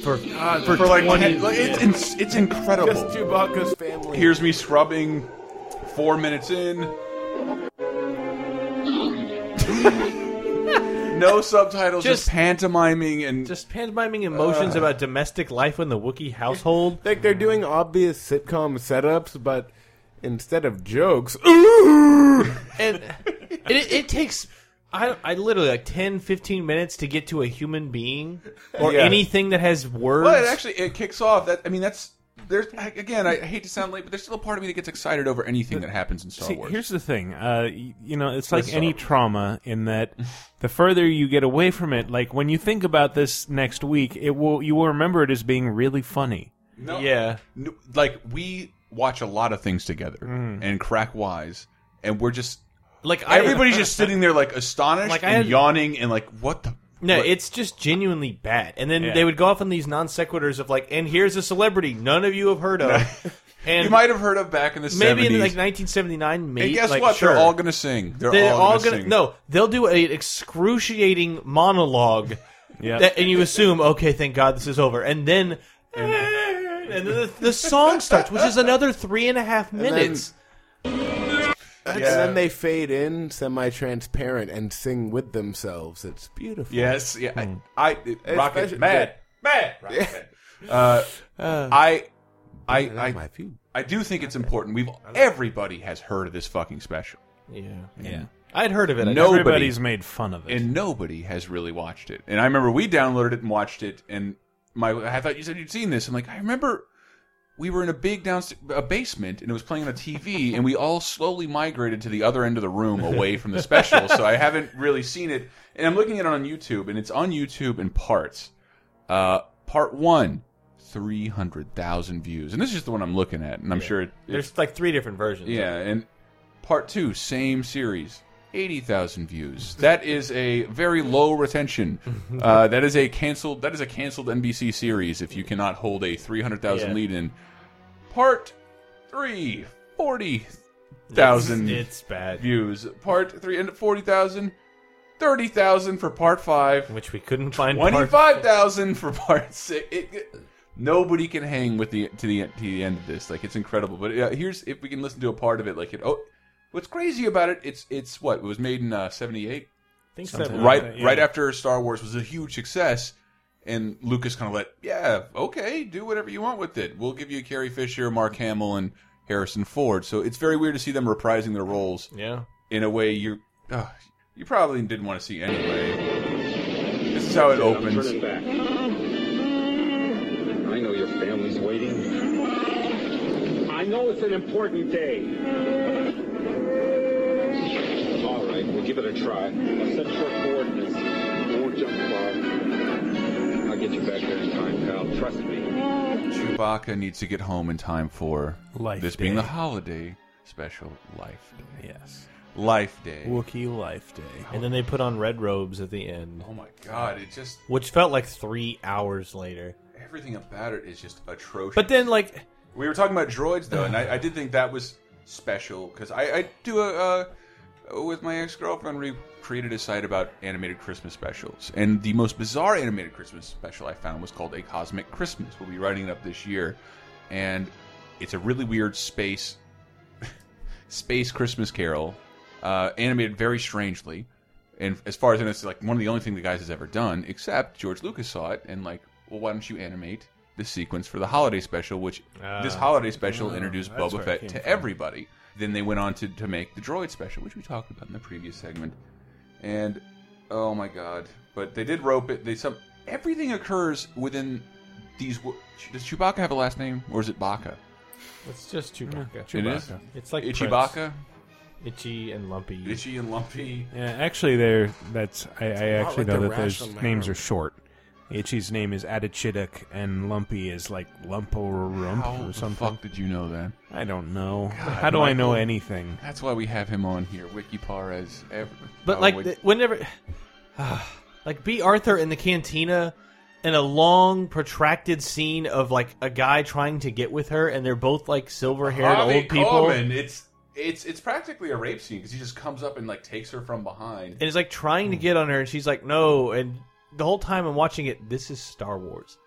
Speaker 5: for
Speaker 3: for, like, ten- like, it's, it's it's incredible.
Speaker 6: Just Chewbacca's family.
Speaker 3: Here's me scrubbing. Four minutes in. no subtitles, just,
Speaker 5: Just-
Speaker 3: pantomiming and
Speaker 5: just pantomiming emotions about domestic life in the Wookiee household.
Speaker 6: like they're doing obvious sitcom setups, but instead of jokes,
Speaker 5: and it, it takes I, I literally like 10 15 minutes to get to a human being or
Speaker 3: Yeah.
Speaker 5: anything that has words
Speaker 3: Well, it actually it kicks off. That I mean, that's there's again. I hate to sound late, but there's still a part of me that gets excited over anything that happens in Star
Speaker 4: See,
Speaker 3: Wars.
Speaker 4: here's the thing. Uh, y- you know, it's
Speaker 3: Let's
Speaker 4: like any
Speaker 3: stop.
Speaker 4: trauma in that the further you get away from it, like when you think about this next week, it will you will remember it as being really funny.
Speaker 3: No,
Speaker 5: yeah
Speaker 3: no, like we watch a lot of things together and crack wise, and we're just
Speaker 5: like I,
Speaker 3: everybody's just sitting there like astonished
Speaker 5: Like, I
Speaker 3: and
Speaker 5: had-
Speaker 3: yawning and like what the
Speaker 5: no
Speaker 3: what-
Speaker 5: it's just genuinely bad and then
Speaker 4: Yeah.
Speaker 5: they would go off on these non sequiturs of like and here's a celebrity none of you have heard of and
Speaker 3: you might have heard of back in the
Speaker 5: maybe
Speaker 3: 70s.
Speaker 5: in like 1979 maybe
Speaker 3: and guess
Speaker 5: like,
Speaker 3: what?
Speaker 5: sure.
Speaker 3: They're all gonna sing. They're,
Speaker 5: They're
Speaker 3: all,
Speaker 5: all
Speaker 3: gonna,
Speaker 5: gonna
Speaker 3: sing.
Speaker 5: no they'll do an excruciating monologue
Speaker 4: Yeah.
Speaker 5: that, and you assume okay thank god this is over and then and then the, the song starts which is another three and a half minutes
Speaker 6: and then they fade in semi-transparent and sing with themselves. It's beautiful.
Speaker 3: Yes, yeah.
Speaker 5: Hmm.
Speaker 3: I, I
Speaker 6: Especially-
Speaker 3: Rocket Mad, Mad, Rocket Mad. Uh, I, I,
Speaker 6: that's
Speaker 3: I,
Speaker 6: my view.
Speaker 3: I do think it's important. We've everybody has heard of this fucking special,
Speaker 5: yeah yeah i'd heard of it I
Speaker 3: No. Nobody-
Speaker 4: Everybody's made fun of it.
Speaker 3: and nobody has really watched it. And I remember we downloaded it and watched it, and my I thought you said you'd seen this. I'm like, I remember we were in a big downstairs a basement, and it was playing on a TV, and we all slowly migrated to the other end of the room away from the special. so I haven't really seen it, and I'm looking at it on YouTube, and it's on YouTube in parts. Uh, part one. 300,000 views. And this is just the one I'm looking at, and I'm sure it, it's
Speaker 5: there's like three different versions
Speaker 3: yeah, and part two, same series, eighty thousand views. That is a very low retention. Uh, that is a canceled. That is a canceled NBC series. If you cannot hold a three hundred thousand
Speaker 5: Yeah.
Speaker 3: lead in, part three, forty
Speaker 5: It's-
Speaker 3: thousand
Speaker 5: it's bad
Speaker 3: views. Part three and forty thousand. 30,000 for part 5,
Speaker 5: which we couldn't find part-
Speaker 3: 25,000 for part 6. It, Nobody can hang with the to the to the end of this. Like it's incredible. But uh, here's if we can listen to a part of it. Like it. Oh, what's crazy about it? It's it's what it was made in uh, '78.
Speaker 5: Think so. Something
Speaker 3: Right,
Speaker 5: like that, yeah.
Speaker 3: right after Star Wars was a huge success, and Lucas kind of let, yeah, okay, do whatever you want with it. We'll give you Carrie Fisher, Mark Hamill, and Harrison Ford. So it's very weird to see them reprising their roles.
Speaker 5: Yeah.
Speaker 3: in a way you, uh, you probably didn't want to see anyway. This is how it opens.
Speaker 15: Turn it back. I know your family's waiting. I know it's an important day. All right, we'll give it a try. I'll set your coordinates. Don't jump far. I'll get you back there in time, pal. Trust me.
Speaker 3: Chewbacca needs to get home in time for
Speaker 4: Life
Speaker 3: this being
Speaker 4: Day.
Speaker 3: the holiday special Life Day.
Speaker 5: Yes.
Speaker 3: Life Day.
Speaker 5: Wookiee Life Day. And then they put on red robes at the end.
Speaker 3: Oh my god, it just
Speaker 5: Which felt like three hours later.
Speaker 3: everything about it is just atrocious.
Speaker 5: But then, like,
Speaker 3: We were talking about droids though, and I, I did think that was special because I, I do a uh, with my ex girlfriend. We created a site about animated Christmas specials, and the most bizarre animated Christmas special I found was called A Cosmic Christmas. We'll be writing it up this year, and it's a really weird space space Christmas Carol, uh, animated very strangely. And as far as I know, it's like one of the only thing the guys has ever done, except George Lucas saw it and like, well, why don't you animate the sequence for the holiday special, which this
Speaker 5: Ah.
Speaker 3: holiday special
Speaker 5: Ah,
Speaker 3: introduced
Speaker 5: that's
Speaker 3: Boba
Speaker 5: where it
Speaker 3: Fett to
Speaker 5: came from.
Speaker 3: everybody. Then they went on to, to make the droid special, which we talked about in the previous segment. And oh my god! But they did rope it. They some everything occurs within these. wo- Does Chewbacca have a last name, or is it Baca?
Speaker 5: it's just Chewbacca.
Speaker 3: It is.
Speaker 5: It's like
Speaker 3: Itchy
Speaker 5: Prince.
Speaker 3: Baca.
Speaker 5: Itchy and lumpy.
Speaker 3: Itchy and lumpy.
Speaker 4: Yeah, actually, they're that's I, I
Speaker 6: lot
Speaker 4: actually
Speaker 6: like
Speaker 4: know
Speaker 6: the
Speaker 4: that those
Speaker 6: rational
Speaker 4: names
Speaker 6: man.
Speaker 4: are short. Itchy's name is Adichiduk, and Lumpy is like Lump or Rump
Speaker 3: How
Speaker 4: or
Speaker 3: the
Speaker 4: something.
Speaker 3: fuck did you know that?
Speaker 4: I don't know. How do I know anything?
Speaker 3: That's why we have him on here, Wiki Parez. Every,
Speaker 5: But
Speaker 3: oh,
Speaker 5: like
Speaker 3: wait,
Speaker 5: th- whenever, like B. Arthur in the cantina, and a long protracted scene of like a guy trying to get with her, and they're both like silver haired
Speaker 3: Harvey
Speaker 5: old people,
Speaker 3: Korman, it's it's it's practically a rape scene because he just comes up and like takes her from behind.
Speaker 5: and he's like trying to get on her, and she's like no, and the whole time I'm watching it, this is Star Wars.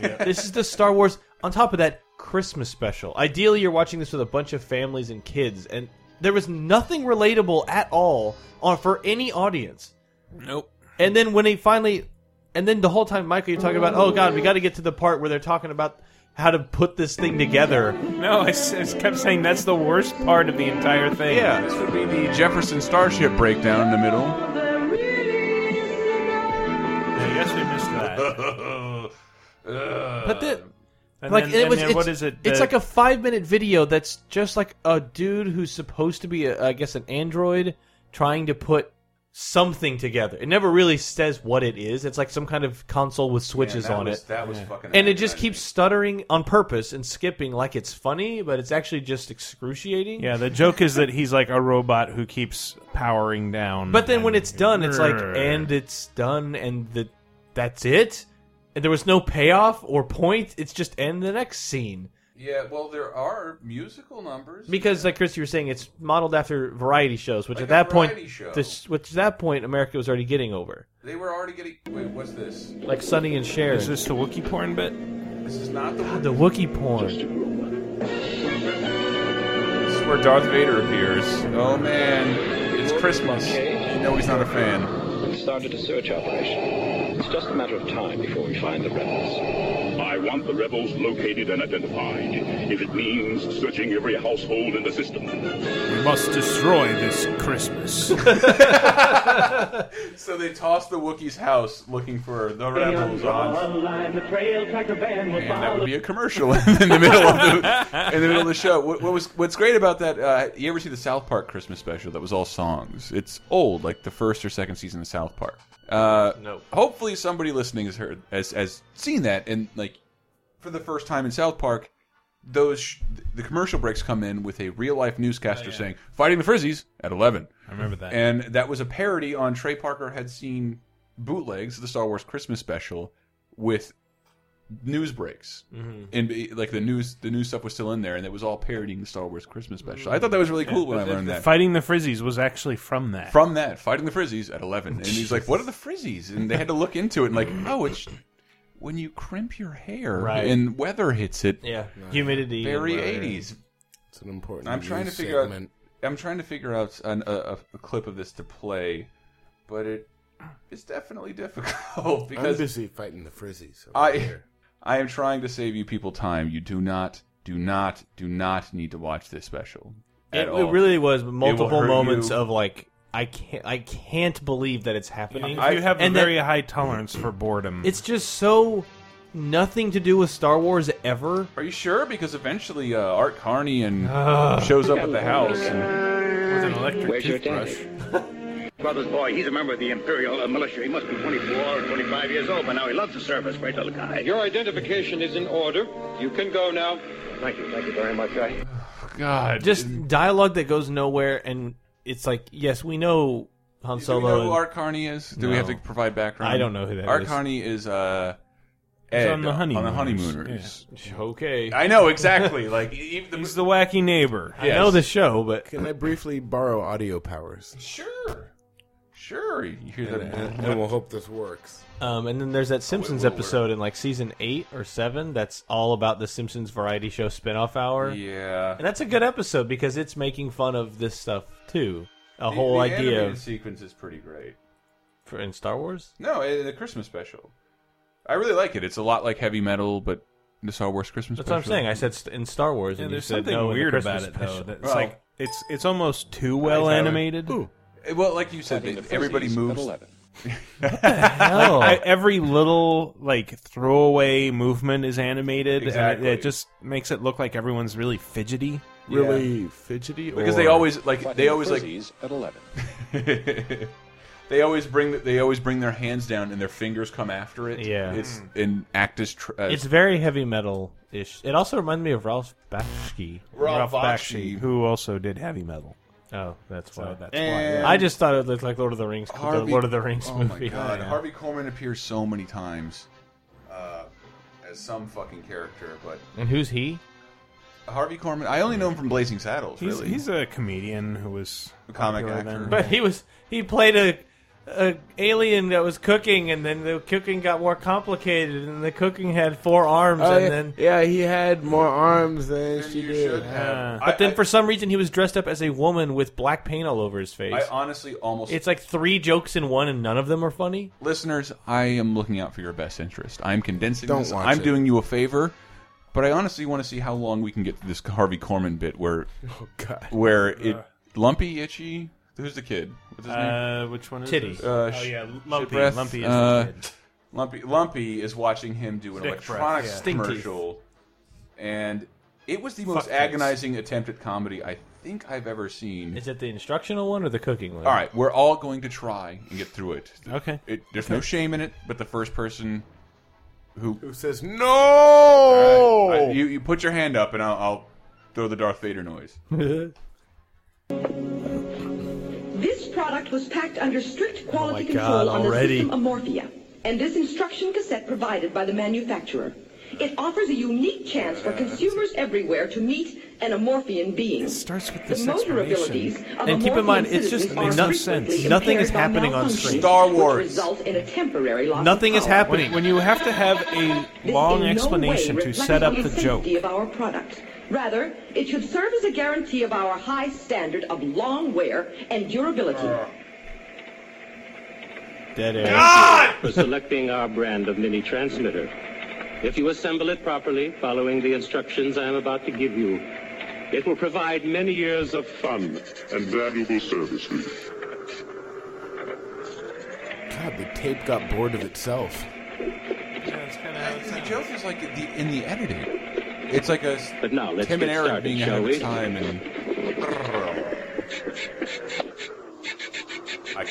Speaker 5: this is the Star Wars. On top of that, Christmas special. Ideally, you're watching this with a bunch of families and kids, and there was nothing relatable at all on for any audience.
Speaker 4: Nope.
Speaker 5: And then when they finally, and then the whole time, Michael, you're talking about, oh god, we got to get to the part where they're talking about how to put this thing together.
Speaker 4: No, I, s- I s- kept saying that's the worst part of the entire thing.
Speaker 5: Yeah.
Speaker 3: This would be the Jefferson Starship breakdown in the middle.
Speaker 4: I guess we missed that.
Speaker 5: But then,
Speaker 4: And
Speaker 5: like
Speaker 4: then-
Speaker 5: it
Speaker 4: and
Speaker 5: was,
Speaker 4: then
Speaker 5: it's,
Speaker 4: what is it,
Speaker 5: It's
Speaker 4: the-
Speaker 5: like a five minute video that's just like a dude who's supposed to be, a, I guess, an android trying to put something together. It never really says what it is. It's like some kind of console with switches
Speaker 3: that
Speaker 5: on
Speaker 3: was-
Speaker 5: it.
Speaker 3: that was fucking
Speaker 5: And it just
Speaker 3: agonizing.
Speaker 5: keeps stuttering on purpose and skipping like it's funny, but it's actually just excruciating.
Speaker 4: Yeah, the joke is that he's like a robot who keeps powering down.
Speaker 5: But then when
Speaker 4: and-
Speaker 5: it's done, it's like, and it's done, and the that's it. And there was no payoff or point. It's just end the next scene
Speaker 3: Yeah, well, there are musical numbers.
Speaker 5: because, like Chris, you were saying, it's modeled after variety shows, which
Speaker 3: Like
Speaker 5: at
Speaker 3: a
Speaker 5: that point,
Speaker 3: variety show.
Speaker 5: this, which at that point, America was already getting over,
Speaker 3: They were already getting. Wait, what's this?
Speaker 5: like Sonny and Cher.
Speaker 4: Is this the Wookiee porn bit?
Speaker 3: This is not the.
Speaker 5: the Wookiee porn?
Speaker 3: This is where Darth Vader appears. Oh man, it's Christmas. No, he's not a fan.
Speaker 15: We've started a search operation. It's just a matter of time before we find the rebels.
Speaker 16: I want the rebels located and identified, if it means searching every household in the system.
Speaker 4: We must destroy this Christmas.
Speaker 3: So they toss the Wookiee's house looking for the rebels on. And that would be a commercial in the middle of the in the middle of the show. What, what was what's great about that? Uh, you ever see the South Park Christmas special that was all songs? It's old, like the first or second season of South Park. Uh,
Speaker 5: Nope.
Speaker 3: Hopefully, somebody listening has heard has, has seen that and like for the first time in South Park, those sh the commercial breaks come in with a real life newscaster saying "Fighting the Frizzies" at eleven.
Speaker 4: I remember that.
Speaker 3: And that was a parody on Trey Parker had seen bootlegs of the Star Wars Christmas special with news breaks.
Speaker 5: Mhm.
Speaker 3: And be- like the news the news stuff was still in there and it was all parodying the Star Wars Christmas special.
Speaker 5: Mm-hmm.
Speaker 3: I thought that was really cool when I learned that.
Speaker 4: Fighting the Frizzies was actually from that.
Speaker 3: From that, Fighting the Frizzies at 11. And he's like, "What are the Frizzies?" And they had to look into it and like, "Oh, it's when you crimp your hair
Speaker 5: Right.
Speaker 3: and weather hits it.
Speaker 5: Yeah. Humidity and
Speaker 3: Very
Speaker 5: weather.
Speaker 3: eighties.
Speaker 6: It's an important.
Speaker 3: I'm trying to
Speaker 6: news
Speaker 3: figure
Speaker 6: segment.
Speaker 3: out. I'm trying to figure out an, a, a- a clip of this to play, but it it's definitely difficult because
Speaker 6: I'm busy fighting the frizzies. over
Speaker 3: I
Speaker 6: here.
Speaker 3: I am trying to save you people time. You do not, do not, do not need to watch this special.
Speaker 5: It,
Speaker 3: at
Speaker 5: it
Speaker 3: all.
Speaker 5: really was
Speaker 3: It will
Speaker 5: multiple
Speaker 3: hurt
Speaker 5: moments
Speaker 3: you.
Speaker 5: of like I can't I can't believe that it's happening.
Speaker 4: you have a
Speaker 5: and that-
Speaker 4: very high tolerance for boredom.
Speaker 5: It's just so nothing to do with Star Wars ever.
Speaker 3: Are you sure? Because eventually uh, Art Carney and shows up at the house.
Speaker 4: With an electric
Speaker 16: Where's your
Speaker 4: toothbrush.
Speaker 16: Brother's boy, he's a member of the Imperial uh, Militia. He must be 24 or 25 years old, but now he loves the service. Great little guy.
Speaker 15: Your identification is in order. You can go now. Thank you. Thank you very much. I...
Speaker 3: God,
Speaker 5: just dialogue that goes nowhere, and it's like, yes, we know Han
Speaker 3: Do
Speaker 5: Solo.
Speaker 3: we know who
Speaker 5: and-
Speaker 3: Art Carney is? Do we
Speaker 5: No.
Speaker 3: have to provide background?
Speaker 5: I don't know who that
Speaker 3: Art
Speaker 5: is.
Speaker 3: Carney is. Uh,
Speaker 4: He's
Speaker 3: Ed
Speaker 4: on the
Speaker 3: On the
Speaker 4: Honeymooners.
Speaker 3: honeymooners.
Speaker 5: Okay,
Speaker 3: I know exactly. like e-, even the,
Speaker 4: He's the wacky neighbor.
Speaker 5: I know the show, but
Speaker 6: Can I briefly borrow audio powers?
Speaker 3: Sure. Sure. You hear
Speaker 6: And,
Speaker 3: that?
Speaker 6: and we'll hope this works.
Speaker 5: Um, and then there's that Simpsons episode in like season eight or seven that's all about the Simpsons variety show spinoff hour.
Speaker 3: Yeah.
Speaker 5: and that's a good episode because it's making fun of this stuff too. A
Speaker 3: The-
Speaker 5: whole
Speaker 3: the
Speaker 5: idea
Speaker 3: animated
Speaker 5: of,
Speaker 3: sequence is pretty great.
Speaker 5: for, in Star Wars.
Speaker 3: No, in the Christmas special. I really like it. It's a lot like heavy metal, but the Star Wars Christmas.
Speaker 5: That's what
Speaker 3: special.
Speaker 5: I'm saying. I said st- in Star Wars,
Speaker 4: Yeah,
Speaker 5: and you
Speaker 4: there's
Speaker 5: said
Speaker 4: something
Speaker 5: no in the
Speaker 4: weird
Speaker 5: Christmas
Speaker 4: about it though.
Speaker 5: special.
Speaker 4: That's
Speaker 3: Well-
Speaker 4: like it's it's almost too well
Speaker 3: Tyler.
Speaker 4: animated.
Speaker 3: Eh, Well, like you said, they- everybody moves.
Speaker 4: Like,
Speaker 5: hell?
Speaker 4: I, every little like throwaway movement is animated,
Speaker 3: Exactly.
Speaker 4: and it, it just makes it look like everyone's really fidgety.
Speaker 6: Really fidgety?
Speaker 3: because they
Speaker 6: or-
Speaker 3: always like they always like
Speaker 16: at 11.
Speaker 3: they always bring they always bring their hands down and their fingers come after it.
Speaker 5: Yeah. Hmm.
Speaker 3: it's and act as tr- as
Speaker 5: It's very heavy metal ish. It also reminded me of Ralph Bakshi.
Speaker 3: Ralph
Speaker 4: Bakshi, who also did heavy metal.
Speaker 5: Oh, that's
Speaker 4: So
Speaker 5: why.
Speaker 4: that's
Speaker 3: And-
Speaker 5: I just thought it looked like Lord of the Rings. the
Speaker 3: Harvey-
Speaker 5: Lord of the Rings
Speaker 3: oh
Speaker 5: movie.
Speaker 3: my god,
Speaker 5: Yeah.
Speaker 3: Harvey Corman appears so many times uh, as some fucking character, but
Speaker 5: And who's he?
Speaker 3: Harvey Corman. I only know him from Blazing Saddles.
Speaker 4: He's,
Speaker 3: really,
Speaker 4: he's a comedian who was
Speaker 3: A comic
Speaker 4: popular
Speaker 3: actor.
Speaker 4: then.
Speaker 5: But he was he played a, a alien that was cooking, and then the cooking got more complicated, and the cooking had four arms,
Speaker 6: Oh, yeah,
Speaker 5: and then
Speaker 6: yeah, he had more arms than
Speaker 3: Then
Speaker 6: she
Speaker 3: you
Speaker 6: did.
Speaker 3: should have.
Speaker 5: but
Speaker 3: I-
Speaker 5: then
Speaker 3: I-
Speaker 5: for some reason he was dressed up as a woman with black paint all over his face.
Speaker 3: I honestly almost
Speaker 5: it's like three jokes in one, and none of them are funny.
Speaker 3: listeners, I am looking out for your best interest. I'm condensing
Speaker 6: Don't
Speaker 3: this.
Speaker 6: watch
Speaker 3: I'm
Speaker 6: it.
Speaker 3: doing you a favor, but I honestly want to see how long we can get through this Harvey Corman bit where
Speaker 5: Ah.
Speaker 6: Oh God.
Speaker 3: where
Speaker 5: Uh.
Speaker 3: it lumpy itchy. Who's the kid? What's his name?
Speaker 4: Uh, which one is
Speaker 5: Titty.
Speaker 4: this? oh
Speaker 3: Uh, sh-
Speaker 4: yeah, Lumpy.
Speaker 3: Shipwreck.
Speaker 4: Lumpy is
Speaker 3: Uh,
Speaker 4: the kid.
Speaker 3: Lumpy Lumpy is watching him do an
Speaker 4: Dick breath,
Speaker 3: electronics
Speaker 4: yeah.
Speaker 5: Stink teeth.
Speaker 3: commercial, and it was the most
Speaker 4: face.
Speaker 3: agonizing attempt at comedy I think I've ever seen.
Speaker 5: Is it the instructional one or the cooking one?
Speaker 3: all right, we're all going to try and get through it.
Speaker 4: Okay.
Speaker 3: It, there's no shame in it, but the first person who
Speaker 6: Who says no?
Speaker 3: I- you you put your hand up and I'll, I'll throw the Darth Vader noise.
Speaker 18: This product was packed under strict
Speaker 5: Oh my
Speaker 18: quality
Speaker 5: God,
Speaker 18: control on the
Speaker 5: already.
Speaker 18: system of Morphia, and this instruction cassette provided by the manufacturer. It offers a unique chance for consumers everywhere to meet an amorphian being. It
Speaker 4: starts with
Speaker 18: the
Speaker 4: this
Speaker 18: motor
Speaker 4: explanation.
Speaker 18: abilities of
Speaker 5: And keep in mind,
Speaker 18: amorphian
Speaker 5: it's just-
Speaker 18: citizens
Speaker 5: makes
Speaker 18: are
Speaker 5: no
Speaker 18: frequently
Speaker 5: sense. Nothing is
Speaker 18: impaired by
Speaker 5: happening on
Speaker 18: malfunction,
Speaker 5: screen.
Speaker 3: Star
Speaker 18: which
Speaker 3: Wars.
Speaker 18: result in a temporary loss of
Speaker 5: Nothing is
Speaker 18: power.
Speaker 5: happening.
Speaker 4: When you have to have a
Speaker 18: This
Speaker 4: long
Speaker 18: in no
Speaker 4: explanation
Speaker 18: way
Speaker 4: to
Speaker 18: reflects
Speaker 4: set up
Speaker 18: on
Speaker 4: the joke.
Speaker 18: safety of our product. Rather, it should serve as a guarantee of our high standard of long wear and durability.
Speaker 5: Dead air.
Speaker 4: Ah!
Speaker 15: for selecting our brand of mini transmitter. If you assemble it properly, following the instructions I am about to give you, it will provide many years of fun.
Speaker 16: And valuable service leave.
Speaker 6: God, the tape got bored of itself.
Speaker 3: The joke is like the, in the editing. It's like a
Speaker 15: But now let's
Speaker 3: Tim
Speaker 15: get
Speaker 3: and Eric
Speaker 15: started,
Speaker 3: being ahead
Speaker 15: shall
Speaker 3: of
Speaker 15: we?
Speaker 3: its time and. I,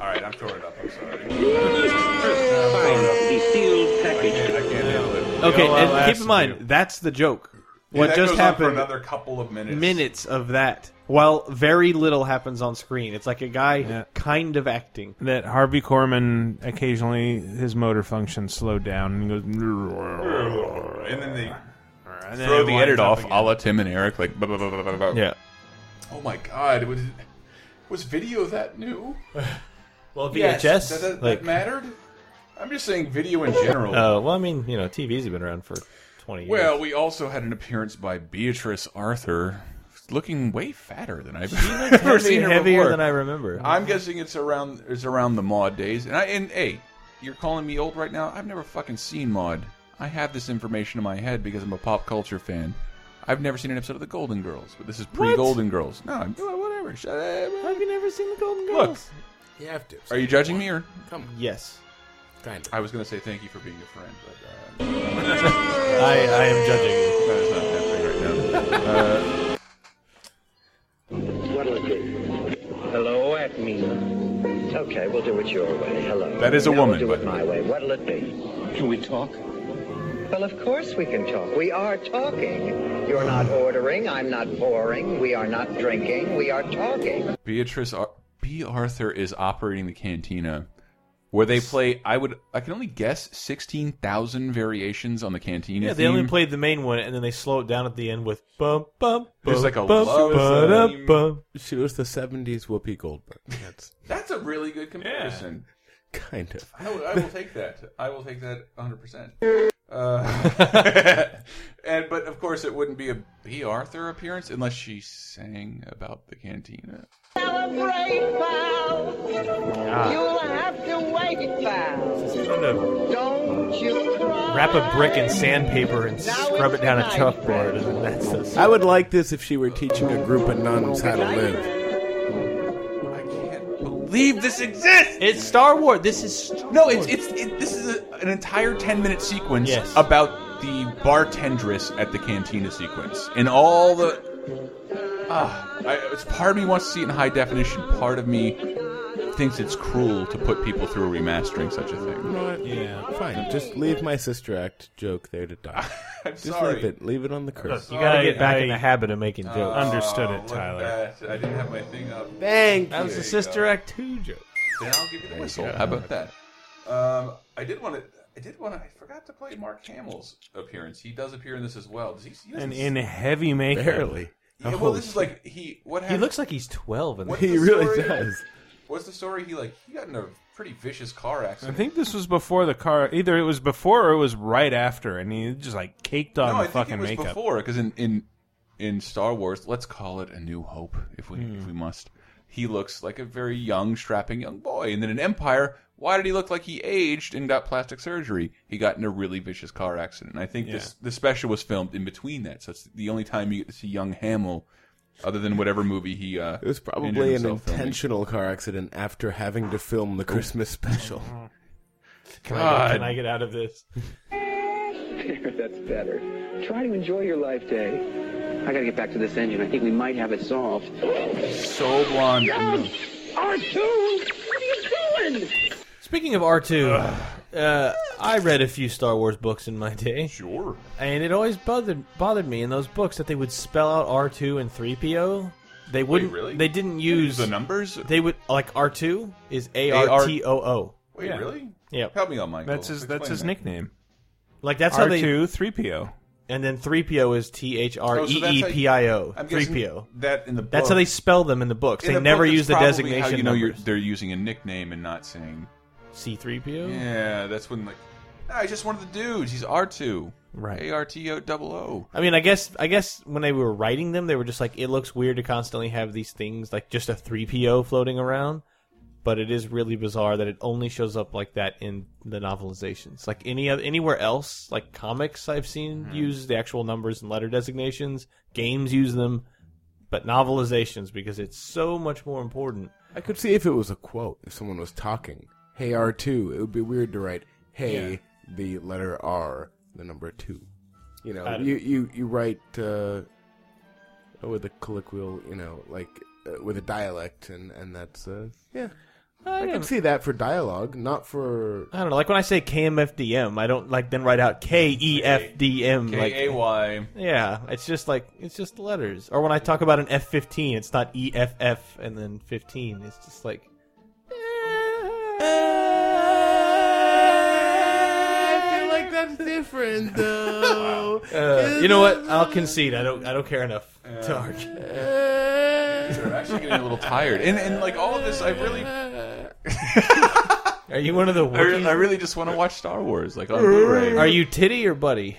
Speaker 3: all right, I'm throwing it up. I'm sorry.
Speaker 15: The sealed package.
Speaker 3: I can't handle it.
Speaker 5: Okay,
Speaker 4: You'll
Speaker 5: and
Speaker 4: allow
Speaker 5: keep
Speaker 4: us
Speaker 5: in
Speaker 4: to
Speaker 5: mind
Speaker 4: do.
Speaker 5: that's the joke. What
Speaker 3: And that
Speaker 5: just
Speaker 3: goes on
Speaker 5: happened?
Speaker 3: for another couple of minutes?
Speaker 5: minutes of that while very little happens on screen. It's like a guy
Speaker 4: Yeah.
Speaker 5: kind of acting.
Speaker 4: that Harvey Korman occasionally his motor function slowed down and goes.
Speaker 3: And then they
Speaker 4: And then
Speaker 3: throw
Speaker 4: it
Speaker 3: the
Speaker 4: winds
Speaker 3: edit
Speaker 4: up
Speaker 3: off,
Speaker 4: again.
Speaker 3: a la Tim and Eric. Like, blah, blah, blah, blah, blah, blah. Oh my God, was was video that new?
Speaker 5: Well, VHS.
Speaker 3: Yes. That, that, that
Speaker 5: like,
Speaker 3: mattered. I'm just saying video in general.
Speaker 5: Uh, well, I mean, you know, TV's been around for 20 years.
Speaker 3: Well, we also had an appearance by Beatrice Arthur, looking way fatter than I've
Speaker 5: looked
Speaker 3: ever
Speaker 5: heavy-
Speaker 3: seen her
Speaker 5: heavier
Speaker 3: before.
Speaker 5: than I remember.
Speaker 3: I'm guessing it's around it's around the Maud days. And I and hey, you're calling me old right now. I've never fucking seen Maud. I have this information in my head because I'm a pop culture fan. I've never seen an episode of The Golden Girls, but this is pre Golden Girls. No, I'm- whatever. Shut up. Have
Speaker 5: you never seen the Golden
Speaker 3: look.
Speaker 5: Girls?
Speaker 6: You have to.
Speaker 3: Are you judging me or?
Speaker 6: Come on.
Speaker 5: Yes.
Speaker 6: Kind of.
Speaker 3: I was going to say thank you for being a friend, but. Uh...
Speaker 5: I, I am judging you.
Speaker 3: That is not happening right now. Uh,
Speaker 15: What'll it be? Hello at me. Okay, we'll do it your way. Hello.
Speaker 3: That is a
Speaker 15: Now
Speaker 3: woman,
Speaker 15: We'll do it
Speaker 3: by
Speaker 15: my
Speaker 3: the
Speaker 15: way. What'll it be? Can we talk?
Speaker 11: Well, of course we can talk. We are talking. You're not ordering. I'm not pouring. We are not drinking. We are talking.
Speaker 3: Beatrice Ar- B. Arthur is operating the cantina, where they play. I would. I can only guess sixteen thousand variations on the cantina.
Speaker 5: Yeah, they
Speaker 3: theme.
Speaker 5: only played the main one, and then they slow it down at the end with bum bum.
Speaker 3: There's
Speaker 5: bum,
Speaker 3: like a
Speaker 5: bum,
Speaker 3: love
Speaker 5: ba-da,
Speaker 3: theme.
Speaker 5: bum.
Speaker 6: She was the '70s Whoopi Goldberg. That's
Speaker 3: That's a really good comparison.
Speaker 6: kind of.
Speaker 3: I, will, I will take that. I will take that 100. percent uh, And but of course it wouldn't be a B. Arthur appearance unless she sang about the cantina.
Speaker 10: Celebrate, pal.
Speaker 11: Ah.
Speaker 10: You'll have to wait, pal. Don't you cry.
Speaker 5: Wrap a brick in sandpaper and scrub it down a chalkboard, and then that's the
Speaker 6: I would like this if she were teaching a group of nuns how to live.
Speaker 3: Leave this exists.
Speaker 5: It's Star Wars. This is
Speaker 3: no. It's it's it, this is a, an entire ten minute sequence
Speaker 5: Yes.
Speaker 3: about the bartendress at the cantina sequence and all the. Ah, I, it's part of me wants to see it in high definition. Part of me thinks it's cruel to put people through remastering such a thing.
Speaker 6: Yeah, fine. Just leave my sister act joke there to die.
Speaker 3: I'm
Speaker 6: Just
Speaker 3: sorry.
Speaker 6: leave it. Leave it on the curse.
Speaker 5: you gotta get back
Speaker 4: I-
Speaker 5: in the habit of making
Speaker 4: Oh,
Speaker 5: jokes.
Speaker 4: Understood it,
Speaker 3: look
Speaker 4: Tyler.
Speaker 3: at that. I didn't have my thing up.
Speaker 6: Thank
Speaker 5: That was
Speaker 3: There
Speaker 5: the
Speaker 3: you
Speaker 5: Sister
Speaker 3: go.
Speaker 5: Act two joke.
Speaker 3: Then I'll give you the whistle.
Speaker 5: go.
Speaker 3: How about that? Um, I did want to. I did want to. I forgot to play Mark Hamill's appearance. He does appear in this as well. Does he? he doesn't-
Speaker 4: And in heavy makeup.
Speaker 6: Barely.
Speaker 3: Yeah, well, this is like he. What
Speaker 5: He
Speaker 3: happened?
Speaker 5: looks like he's twelve, and
Speaker 3: What's
Speaker 6: He
Speaker 3: the
Speaker 6: really
Speaker 3: story?
Speaker 6: does.
Speaker 3: What's the story? He like he got in a pretty vicious car
Speaker 4: I
Speaker 3: accident.
Speaker 4: think this was before the car. Either it was before or it was right after, and he just like caked on
Speaker 3: no,
Speaker 4: the
Speaker 3: I think
Speaker 4: fucking
Speaker 3: it was
Speaker 4: makeup.
Speaker 3: before because in in in Star Wars, let's call it A New Hope if we
Speaker 6: Hmm.
Speaker 3: if we must. He looks like a very young, strapping young boy, and then in Empire, why did he look like he aged and got plastic surgery? He got in a really vicious car accident. And I think this the special was filmed in between that, so it's the only time you get to see young Hamill, other than whatever movie he. Uh,
Speaker 6: It was probably an intentional car accident after having to film the Christmas special.
Speaker 5: Can I,
Speaker 6: God.
Speaker 5: can I get out of this?
Speaker 8: That's better. Try to enjoy your life, Dave. I gotta get back to this engine. I think we might have it solved.
Speaker 3: So blonde.
Speaker 10: R2, what are you doing?
Speaker 5: Speaking of R two, uh, I read a few Star Wars books in my day.
Speaker 3: Sure.
Speaker 5: And it always bothered bothered me in those books that they would spell out R two and three PO. They wouldn't.
Speaker 3: really?
Speaker 5: They didn't use
Speaker 3: the numbers?
Speaker 5: They would like R two is A R T O O.
Speaker 3: Wait, really?
Speaker 5: Yeah.
Speaker 3: Help me on Michael.
Speaker 4: That's his. That's
Speaker 3: Explain
Speaker 4: his
Speaker 3: that.
Speaker 4: nickname.
Speaker 5: Like that's how
Speaker 4: R
Speaker 5: they.
Speaker 4: two three PO.
Speaker 5: And then three PO is T H R
Speaker 3: Oh,
Speaker 5: E
Speaker 3: so that's
Speaker 5: E
Speaker 3: how you-
Speaker 5: P I O.
Speaker 3: I'm
Speaker 5: Three
Speaker 3: guessing
Speaker 5: PO.
Speaker 3: That in the
Speaker 5: That's how they
Speaker 3: book-
Speaker 5: spell them in the books.
Speaker 3: In
Speaker 5: they
Speaker 3: the
Speaker 5: never
Speaker 3: book, that's
Speaker 5: use the
Speaker 3: probably
Speaker 5: designation.
Speaker 3: How you know you're,
Speaker 5: numbers.
Speaker 3: they're using a nickname and not saying
Speaker 5: C3PO?
Speaker 3: Yeah, that's when like I just one of the dudes. He's R two.
Speaker 5: Right.
Speaker 3: A R T O double O.
Speaker 5: I mean, I guess I guess when they were writing them, they were just like, it looks weird to constantly have these things like just a three PO floating around, but it is really bizarre that it only shows up like that in the novelizations. Like any oth- anywhere else, like comics I've seen use the actual numbers and letter designations. Games use them, but novelizations because it's so much more important.
Speaker 6: I could see if it was a quote, if someone was talking. Hey R2, it would be weird to write hey
Speaker 5: Yeah.
Speaker 6: the letter R, the number 2. You know,
Speaker 5: I don't-
Speaker 6: you, you you write uh with a colloquial, you know, like uh, with a dialect and and that's uh yeah. I,
Speaker 5: don't-
Speaker 6: can see that for dialogue, not for
Speaker 5: I don't know. Like when I say KMFDM, I don't like then write out K E F D M. Like
Speaker 3: K A Y.
Speaker 5: Yeah, it's just like it's just letters. Or when I talk about an F fifteen, it's not E F F and then fifteen. It's just like
Speaker 6: I feel like that's different though.
Speaker 5: uh, you know what? I'll concede. I don't. I don't care enough to argue.
Speaker 3: I'm actually getting a little tired. And and like all of this I really
Speaker 5: Are you one of the
Speaker 3: I, re-
Speaker 5: Wookiees?
Speaker 3: I really just want to watch Star Wars, like on Blu-ray.
Speaker 5: Are you titty or buddy?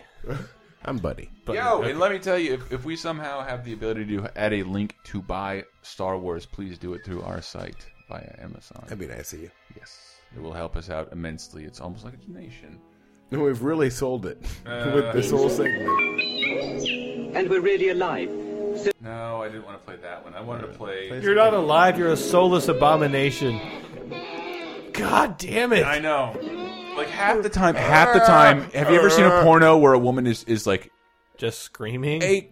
Speaker 6: I'm buddy.
Speaker 3: Yo, and let me tell you, if, if we somehow have the ability to add a link to buy Star Wars, please do it through our site via Amazon. That'd
Speaker 6: be nice of you.
Speaker 3: Yes, it will help us out immensely. It's almost like a donation.
Speaker 6: No, we've really sold it
Speaker 3: Uh,
Speaker 6: with this whole segment.
Speaker 16: And we're really alive.
Speaker 3: No, I didn't want to play that one. I wanted to play.
Speaker 5: You're not alive. You're a soulless abomination. God damn it!
Speaker 3: I know. Like half the time, half the time. Have you ever seen a porno where a woman is is like
Speaker 5: just screaming?
Speaker 3: A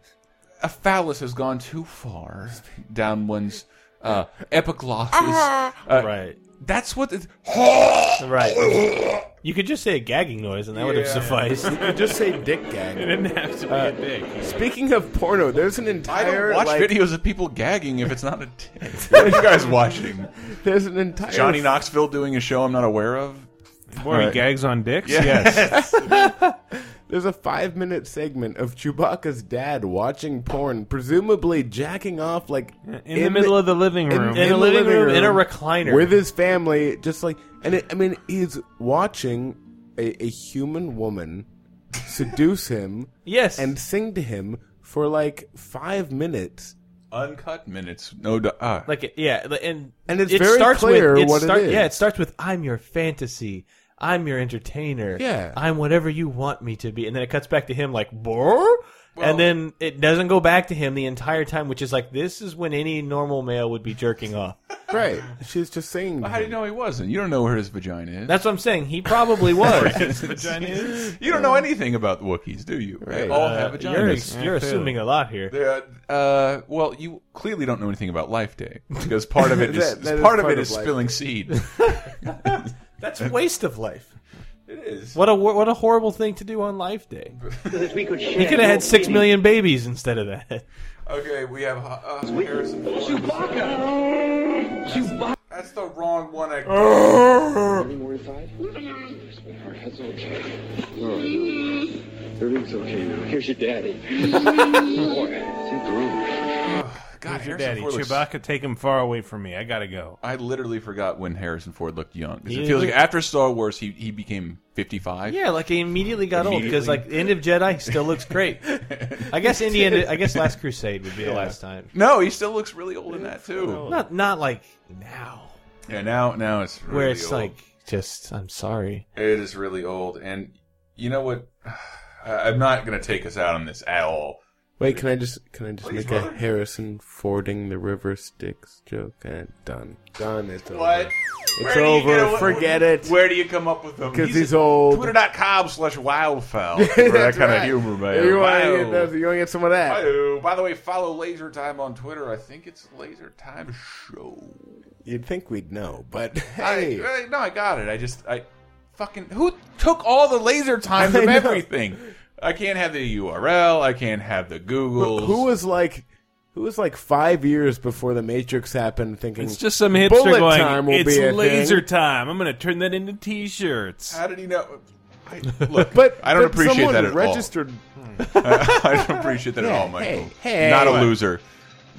Speaker 3: a phallus has gone too far down one's uh, epiglottis.
Speaker 5: Ah.
Speaker 3: Uh,
Speaker 5: right.
Speaker 3: That's what. It,
Speaker 5: Right. You could just say a gagging noise, and that would have
Speaker 6: Yeah.
Speaker 5: sufficed.
Speaker 6: You could just say dick gag. It
Speaker 5: didn't have to be
Speaker 6: Uh,
Speaker 5: a dick.
Speaker 6: Speaking of porno, there's an
Speaker 3: I
Speaker 6: entire
Speaker 3: don't watch
Speaker 6: like,
Speaker 3: videos of people gagging if it's not a dick. what are you guys watching?
Speaker 6: There's an entire
Speaker 3: Johnny Knoxville doing a show I'm not aware of.
Speaker 6: Where he gags
Speaker 4: on dicks?
Speaker 3: Yes.
Speaker 6: There's a five minute segment of Chewbacca's dad watching porn, presumably jacking off like in,
Speaker 4: the middle of the living room. In
Speaker 6: the
Speaker 4: the living room, in a recliner.
Speaker 6: with his family, just like and it, I mean he's watching a, a human woman seduce him,
Speaker 5: yes,
Speaker 6: and sing to him for like five minutes.
Speaker 3: Uncut minutes. No. du- Ah.
Speaker 5: Like yeah, li- and
Speaker 6: And it's very clear
Speaker 5: with,
Speaker 6: what it is.
Speaker 5: Yeah, it starts with "I'm your fantasy, I'm your entertainer,
Speaker 6: Yeah.
Speaker 5: I'm whatever you want me to be," and then it cuts back to him like "Brr," and then it doesn't go back to him the entire time, which is like this is when any normal male would be jerking off.
Speaker 6: Right. She's just singing.
Speaker 3: How do you know he wasn't? You don't know where his vagina is.
Speaker 5: That's what I'm saying. He probably was.
Speaker 3: You don't know anything about the Wookiees, do you? They all
Speaker 5: Uh,
Speaker 3: have
Speaker 5: You're,
Speaker 3: vaginas.
Speaker 5: you're assuming a lot here.
Speaker 3: They're, Uh, well, you clearly don't know anything about Life Day because part of it is,
Speaker 5: That- that is
Speaker 3: part of
Speaker 5: part
Speaker 3: it
Speaker 5: of
Speaker 3: is
Speaker 5: Life
Speaker 3: spilling
Speaker 5: Day.
Speaker 3: seed.
Speaker 5: That's waste of life.
Speaker 3: It is.
Speaker 5: What a what a horrible thing to do on Life Day.
Speaker 16: We could
Speaker 5: He could have had six million babies instead of that.
Speaker 3: Okay, we have uh, Harrison.
Speaker 16: Chewbacca.
Speaker 3: Chewbacca. That's the wrong one. I...
Speaker 16: Everything more inside? That's okay. All right. Everything's okay now. Here's your daddy. Boy, see through.
Speaker 4: God, your
Speaker 3: Harrison
Speaker 4: daddy,
Speaker 3: Ford looks-
Speaker 4: Chewbacca, take him far away from me. I gotta go.
Speaker 3: I literally forgot when Harrison Ford looked young. 'Cause
Speaker 4: He
Speaker 3: It feels like
Speaker 4: looked-
Speaker 3: after Star Wars, he, he became 55.
Speaker 5: Yeah, like he immediately got old because like
Speaker 3: Immediately.
Speaker 5: End of Jedi still looks great. I guess Indiana. I guess Last Crusade would be the
Speaker 3: Yeah.
Speaker 5: last time.
Speaker 3: No, he still looks really old in that, too.
Speaker 5: Not not like
Speaker 3: Yeah, now now it's really
Speaker 5: where it's
Speaker 3: old.
Speaker 5: like just I'm sorry.
Speaker 3: It is really old, and you know what? I- I'm not going to take us out on this at all.
Speaker 6: Wait, can I just can I just
Speaker 3: Please,
Speaker 6: make
Speaker 3: brother.
Speaker 6: a Harrison fording the river Styx joke? And done, done. It's over.
Speaker 3: What?
Speaker 6: It's
Speaker 3: do you
Speaker 6: over.
Speaker 3: get- what-
Speaker 6: Forget it.
Speaker 3: Where do you come up with them?
Speaker 6: 'Cause he's old.
Speaker 3: Twitter.com slash wildfowl for that kind of humor, man.
Speaker 6: You want to
Speaker 3: Wow.
Speaker 6: get, that- you wanna get some of that?
Speaker 3: Wow. By the way, follow Laser Time on Twitter. I think it's Laser Time Show.
Speaker 6: You'd think we'd know, but
Speaker 3: I-
Speaker 6: hey,
Speaker 3: I- no, I got it. I just I fucking who took all the Laser Times
Speaker 6: I
Speaker 3: of
Speaker 6: know.
Speaker 3: everything. I can't have the URL. I can't have the Google.
Speaker 6: who was like, who was like five years before the Matrix happened, thinking
Speaker 4: It's just some hipster
Speaker 6: bullet
Speaker 4: going.
Speaker 6: time will
Speaker 4: it's
Speaker 6: be a
Speaker 4: laser
Speaker 6: Thing.
Speaker 4: time. I'm gonna turn that into t-shirts.
Speaker 3: How did he know? I, look,
Speaker 6: But
Speaker 3: I don't
Speaker 6: but
Speaker 3: appreciate
Speaker 6: someone
Speaker 3: that at
Speaker 6: registered,
Speaker 3: all. I don't appreciate that at
Speaker 6: Yeah,
Speaker 3: all, Michael.
Speaker 6: hey, hey.
Speaker 3: not a loser.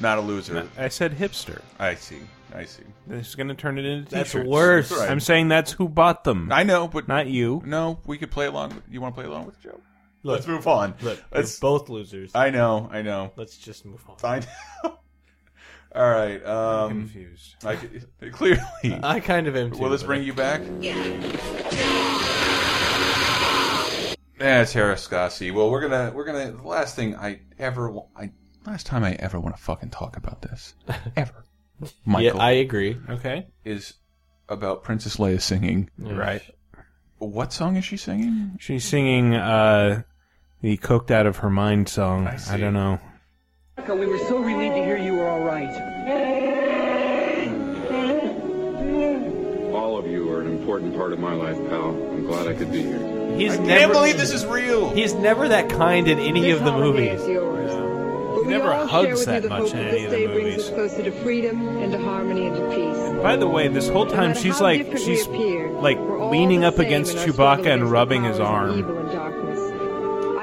Speaker 3: Not a loser.
Speaker 4: I said hipster.
Speaker 3: I see. I see.
Speaker 4: It's gonna turn it into
Speaker 5: That's
Speaker 4: t-shirts.
Speaker 5: worse. That's
Speaker 3: right.
Speaker 4: I'm saying that's who bought them.
Speaker 3: I know, but
Speaker 4: not you.
Speaker 3: No, we could play along. With, you want to play along with Joe?
Speaker 5: Look,
Speaker 3: Let's move on.
Speaker 5: Look,
Speaker 3: Let's-
Speaker 5: we're both losers.
Speaker 3: I know. I know.
Speaker 5: Let's just move on.
Speaker 3: I know. All right. Um,
Speaker 4: confused.
Speaker 3: I c- clearly.
Speaker 5: I kind of am. Too,
Speaker 3: Will this
Speaker 5: but-
Speaker 3: bring you back? Yeah, it's Harris Scossi. Well, we're gonna we're gonna. The last thing I ever wa- I last time I ever want to fucking talk about this ever. Michael,
Speaker 5: Yeah, I agree.
Speaker 4: Okay.
Speaker 3: is about Princess Leia singing.
Speaker 4: Right.
Speaker 3: What song is she singing?
Speaker 4: She's singing uh, the "Coked Out of Her Mind" song. I, don't know.
Speaker 11: Chewbacca, we were so relieved to hear you were all right.
Speaker 16: All of you are an important part of my life, pal. I'm glad I could be here.
Speaker 5: He's
Speaker 16: I
Speaker 5: never,
Speaker 16: can't believe this
Speaker 3: is real.
Speaker 5: He's never that kind in any of the movies.
Speaker 18: But we
Speaker 4: never
Speaker 18: all share
Speaker 4: hugs
Speaker 18: with you
Speaker 4: that
Speaker 18: the
Speaker 4: much
Speaker 18: hope
Speaker 4: in
Speaker 18: that this
Speaker 4: any of the
Speaker 18: day brings
Speaker 4: movies.
Speaker 18: us closer to freedom and to harmony and to peace.
Speaker 4: By the way, this whole
Speaker 18: No
Speaker 4: time
Speaker 18: matter
Speaker 4: she's
Speaker 18: how
Speaker 4: like
Speaker 18: different we
Speaker 4: she's
Speaker 18: appear,
Speaker 4: like
Speaker 18: we're all
Speaker 4: leaning
Speaker 18: the
Speaker 4: up
Speaker 18: same
Speaker 4: against
Speaker 18: in our struggle
Speaker 4: Chewbacca and
Speaker 18: against the
Speaker 4: rubbing his
Speaker 18: powers of
Speaker 4: arm.
Speaker 18: Evil and darkness.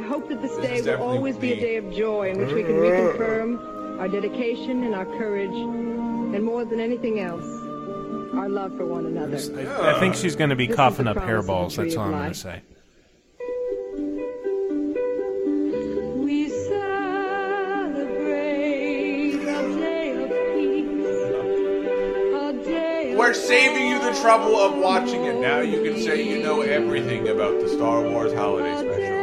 Speaker 18: I hope that this,
Speaker 3: This
Speaker 18: day
Speaker 3: is
Speaker 18: will
Speaker 3: definitely
Speaker 18: always be a
Speaker 3: me.
Speaker 18: day of joy in which we can reconfirm our dedication and our courage, and more than anything else,
Speaker 19: our love for one another.
Speaker 4: I think she's going to be
Speaker 19: This is
Speaker 4: coughing
Speaker 19: the
Speaker 4: up
Speaker 19: promise of the
Speaker 4: hairballs.
Speaker 19: tree
Speaker 4: That's
Speaker 19: of
Speaker 4: all I'm going
Speaker 19: life.
Speaker 4: to say.
Speaker 13: We celebrate a day of peace. A day
Speaker 3: We're saving you the trouble of watching it. Now you can say you know everything about the Star Wars holiday special.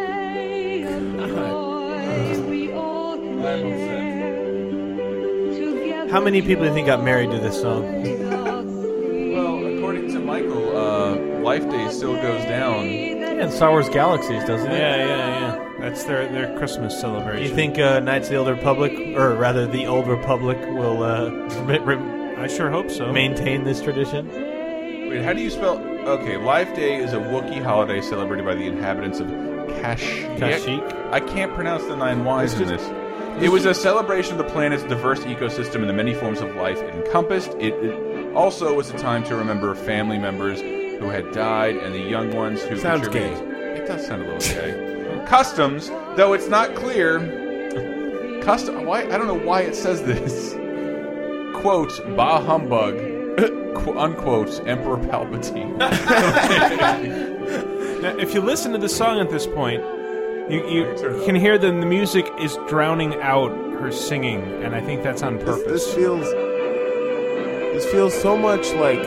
Speaker 5: How many people do you think got married to this song?
Speaker 3: Well, according to Michael, uh, Life Day still goes down.
Speaker 5: Yeah, and Star Wars Galaxies, doesn't it?
Speaker 4: Yeah, yeah, yeah. That's their their Christmas
Speaker 5: Do
Speaker 4: celebration.
Speaker 5: you think uh, Knights of the Old Republic, or rather the Old Republic, will? Uh, I
Speaker 4: sure hope so.
Speaker 5: Maintain this tradition.
Speaker 3: Wait, how do you spell? Okay, Life Day is a Wookiee holiday celebrated by the inhabitants of Kash.
Speaker 5: Kashyyyk?
Speaker 3: I can't pronounce the nine Y's in this. It was a celebration of the planet's diverse ecosystem and the many forms of life it encompassed. It, it also was a time to remember family members who had died and the young ones who
Speaker 6: Sounds
Speaker 3: contributed. It does sound a little gay. Customs, though it's not clear. Custom. Why? I don't know why it says this. Quote: Bah humbug. Qu- unquote. Emperor Palpatine.
Speaker 4: Now, if you listen to the song at this point, you, you can hear that the music is drowning out her singing, and I think that's on purpose.
Speaker 6: This feels. This feels so much like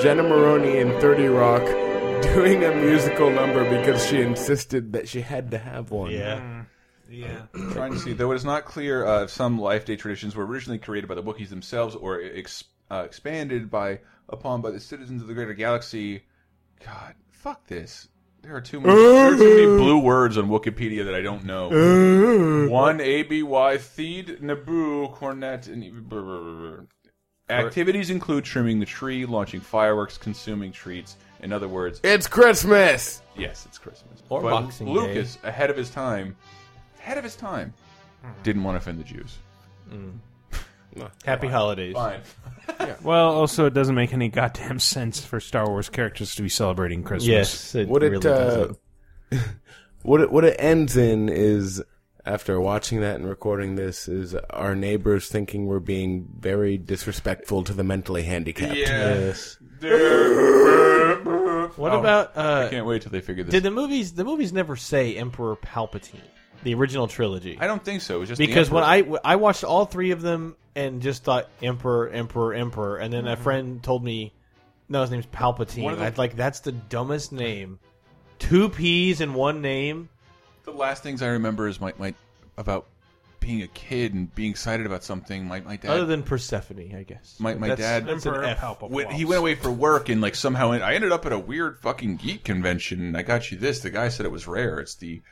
Speaker 6: Jenna Maroney in 30 Rock doing a musical number because she insisted that she had to have one.
Speaker 5: Yeah.
Speaker 4: Yeah.
Speaker 3: trying to see, though it is not clear uh, if some Life Day traditions were originally created by the Wookiees themselves or ex uh, expanded by upon by the citizens of the greater galaxy. God, fuck this. There are too many, there are too many blue words on Wikipedia that I don't know. One A B Y Theed Naboo Cornet and brr, brr, brr, brr. activities include trimming the tree, launching fireworks, consuming treats. In other words,
Speaker 6: It's Christmas!
Speaker 3: Yes, it's Christmas.
Speaker 6: Or
Speaker 3: but
Speaker 6: Boxing Day.
Speaker 3: Lucas, ahead of his time, ahead of his time, didn't want to offend the Jews.
Speaker 5: Happy holidays.
Speaker 3: Fine.
Speaker 4: Well, also it doesn't make any goddamn sense for Star Wars characters to be celebrating Christmas.
Speaker 6: what it uh, what it what it ends in is after watching that and recording this is our neighbors thinking we're being very disrespectful to the mentally handicapped.
Speaker 5: Yes. What
Speaker 3: Oh,
Speaker 5: about? Uh,
Speaker 3: I can't wait till they figure this
Speaker 5: Did the movies? The movies never say Emperor Palpatine. The original trilogy.
Speaker 3: I don't think so. It was just the
Speaker 5: because when
Speaker 3: Emperor.
Speaker 5: I I watched all three of them and just thought Emperor, Emperor, Emperor, and then a friend told me, no, his name's
Speaker 3: One of
Speaker 5: Palpatine.
Speaker 3: the-
Speaker 5: I'd like that's the dumbest name. Two P's in one name.
Speaker 3: The last things I remember is my, my about being a kid and being excited about something. My my dad.
Speaker 5: Other than Persephone, I guess.
Speaker 3: my, my
Speaker 5: That's-
Speaker 3: dad
Speaker 5: that's an F.
Speaker 3: When he went away for work and like somehow I ended up at a weird fucking geek convention and I got you this. The guy said it was rare. It's the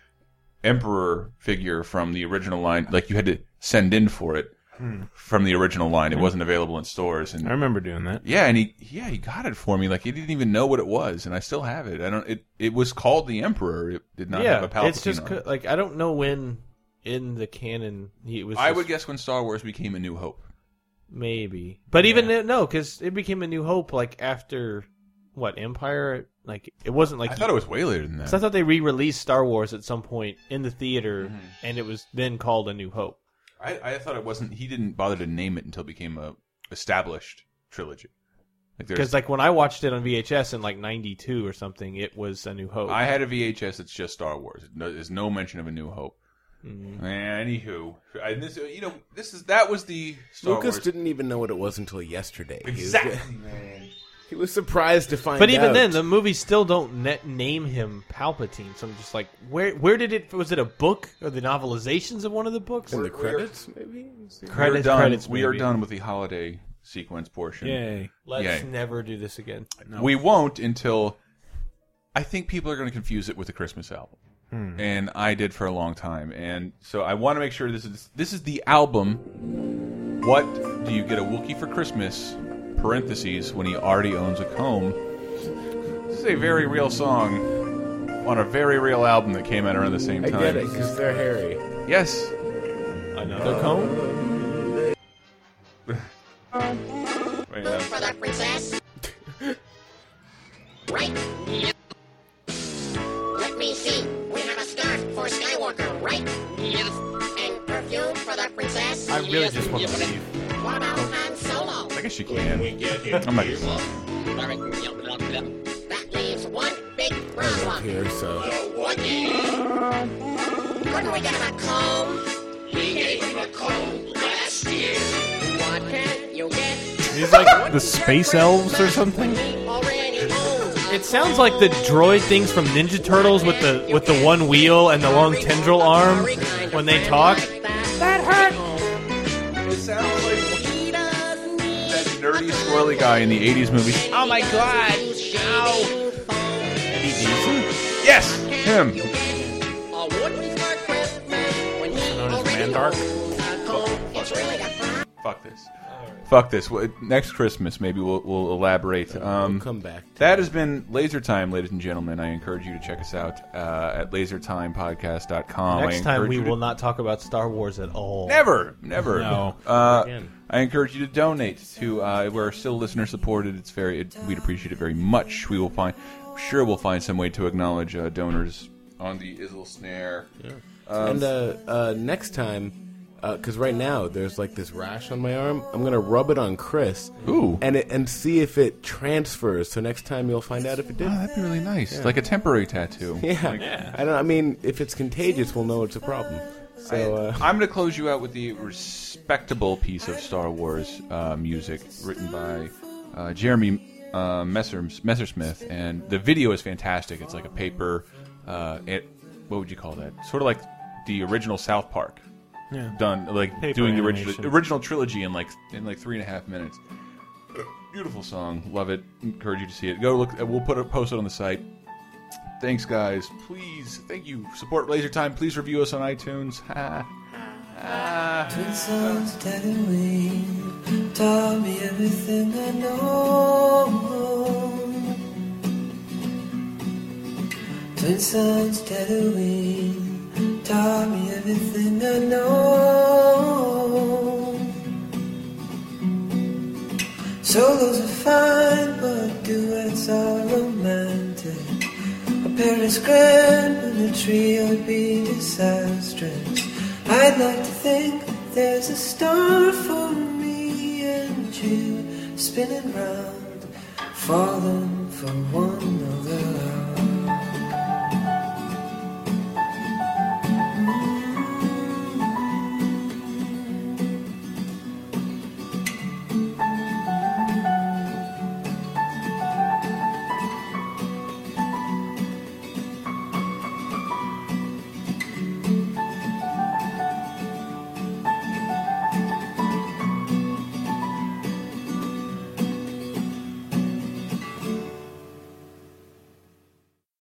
Speaker 3: emperor figure from the original line. Like you had to send in for it
Speaker 4: Hmm.
Speaker 3: from the original line. It wasn't available in stores. And
Speaker 4: I remember doing that.
Speaker 3: Yeah, and he yeah he got it for me. Like he didn't even know what it was, and I still have it. I don't. It it was called the Emperor. It did not have a Palpatine.
Speaker 5: it's just
Speaker 3: on it.
Speaker 5: co- like I don't know when in the canon he was.
Speaker 3: I
Speaker 5: just-
Speaker 3: would guess when Star Wars became A New Hope.
Speaker 5: maybe, but even then, no, because it became a New Hope like after what Empire. Like it wasn't like
Speaker 3: I thought it was way later than that.
Speaker 5: So I thought they re-released Star Wars at some point in the theater, and it was then called A New Hope.
Speaker 3: I, I thought it wasn't. He didn't bother to name it until it became a established trilogy. Like there's-
Speaker 5: Because like when I watched it on VHS in like '92 or something, it was A New Hope.
Speaker 3: I had a VHS that's just Star Wars. No, there's no mention of A New Hope.
Speaker 5: Mhm.
Speaker 3: Anywho, I, this you know this is that was the Star
Speaker 6: Lucas
Speaker 3: Wars.
Speaker 6: didn't even know what it was until yesterday. He was-
Speaker 3: Exactly, man.
Speaker 6: He was surprised to find
Speaker 5: but even
Speaker 6: out.
Speaker 5: then, the movies still don't net name him Palpatine. So I'm just like, where where did it? Was it a book or the novelizations of one of the books?
Speaker 6: In the credits, maybe?
Speaker 3: we are
Speaker 5: Credits,
Speaker 3: done.
Speaker 5: credits.
Speaker 3: we are
Speaker 5: maybe.
Speaker 3: done with the holiday sequence portion.
Speaker 5: Yay. Let's
Speaker 3: Yay.
Speaker 5: never do this again.
Speaker 3: We won't until I think people are going to confuse it with the Christmas album,
Speaker 5: Hmm.
Speaker 3: and I did for a long time. And so I want to make sure this is this is the album. What do you get a Wookiee for Christmas? Parentheses when he already owns a comb. This is a very real song on a very real album that came out around the same
Speaker 6: I
Speaker 3: time.
Speaker 6: get it because they're hairy.
Speaker 3: Yes. Uh,
Speaker 5: Another comb.
Speaker 3: Wait, no.
Speaker 13: For the princess. right? Yep. Let me see. We have a scarf for Skywalker, right? Yes. And perfume for the princess.
Speaker 5: I really just want to leave.
Speaker 13: What about Han Solo?
Speaker 3: guess you can. I'm not gonna lie.
Speaker 13: That leaves one big
Speaker 6: I live here, so.
Speaker 13: Couldn't we get him a comb? We gave him a comb last year. What can't you get?
Speaker 4: He's like the space elves or something.
Speaker 13: Oh.
Speaker 5: It sounds like the droid things from Ninja Turtles with the with the one wheel and the long tendril arm when they talk.
Speaker 13: That hurt!
Speaker 3: It sounds like that nerdy, squirrely guy in the '80s movie.
Speaker 13: Oh my god! Ow!
Speaker 3: Yes, him. Fuck this. Fuck this. Well, Next Christmas, maybe we'll, we'll elaborate. Um,
Speaker 6: come back
Speaker 3: That has been Laser Time, ladies and gentlemen. I encourage you to check us out uh, at lasertimepodcast.com. I
Speaker 5: Next time
Speaker 3: encourage
Speaker 5: we
Speaker 3: you to-
Speaker 5: will not talk about Star Wars at all.
Speaker 3: Never, never.
Speaker 5: No.
Speaker 3: Uh, I encourage you to donate to. Uh, we're still listener supported. It's very. It, we'd appreciate it very much. We will find. Sure, we'll find some way to acknowledge uh, donors on the Izzle snare. Um,
Speaker 6: and uh, uh, next time, because right now there's like this rash on my arm, I'm gonna rub it on Chris.
Speaker 3: Ooh.
Speaker 6: And it, and see if it transfers. So next time you'll find out if it did.
Speaker 3: Ah, that'd be really nice.
Speaker 6: Yeah.
Speaker 3: Like a temporary tattoo.
Speaker 6: Yeah.
Speaker 3: Like-
Speaker 6: I don't. I mean, if it's contagious, we'll know it's a problem. So uh,
Speaker 3: I'm going to close you out with the respectable piece of Star Wars uh, music written by uh, Jeremy uh, Messer, Messersmith, and the video is fantastic. It's like a paper. Uh, it, what would you call that? Sort of like the original South Park.
Speaker 4: Yeah.
Speaker 3: Done like
Speaker 4: Paper
Speaker 3: doing the original
Speaker 4: animation.
Speaker 3: original trilogy in like in like three and a half minutes. Beautiful song, love it. Encourage you to see it. Go look. We'll put it post it on the site. Thanks, guys. Please, thank you. Support Laser Time. Please review us on iTunes. Ha.
Speaker 13: Twin suns telling me, tell me everything I know. Twin suns telling me, tell me everything I know. Solos are fine, but duets are romantic. A pair is grand, but a trio would be disastrous. I'd like to think there's a star for me and you spinning round, falling for one another.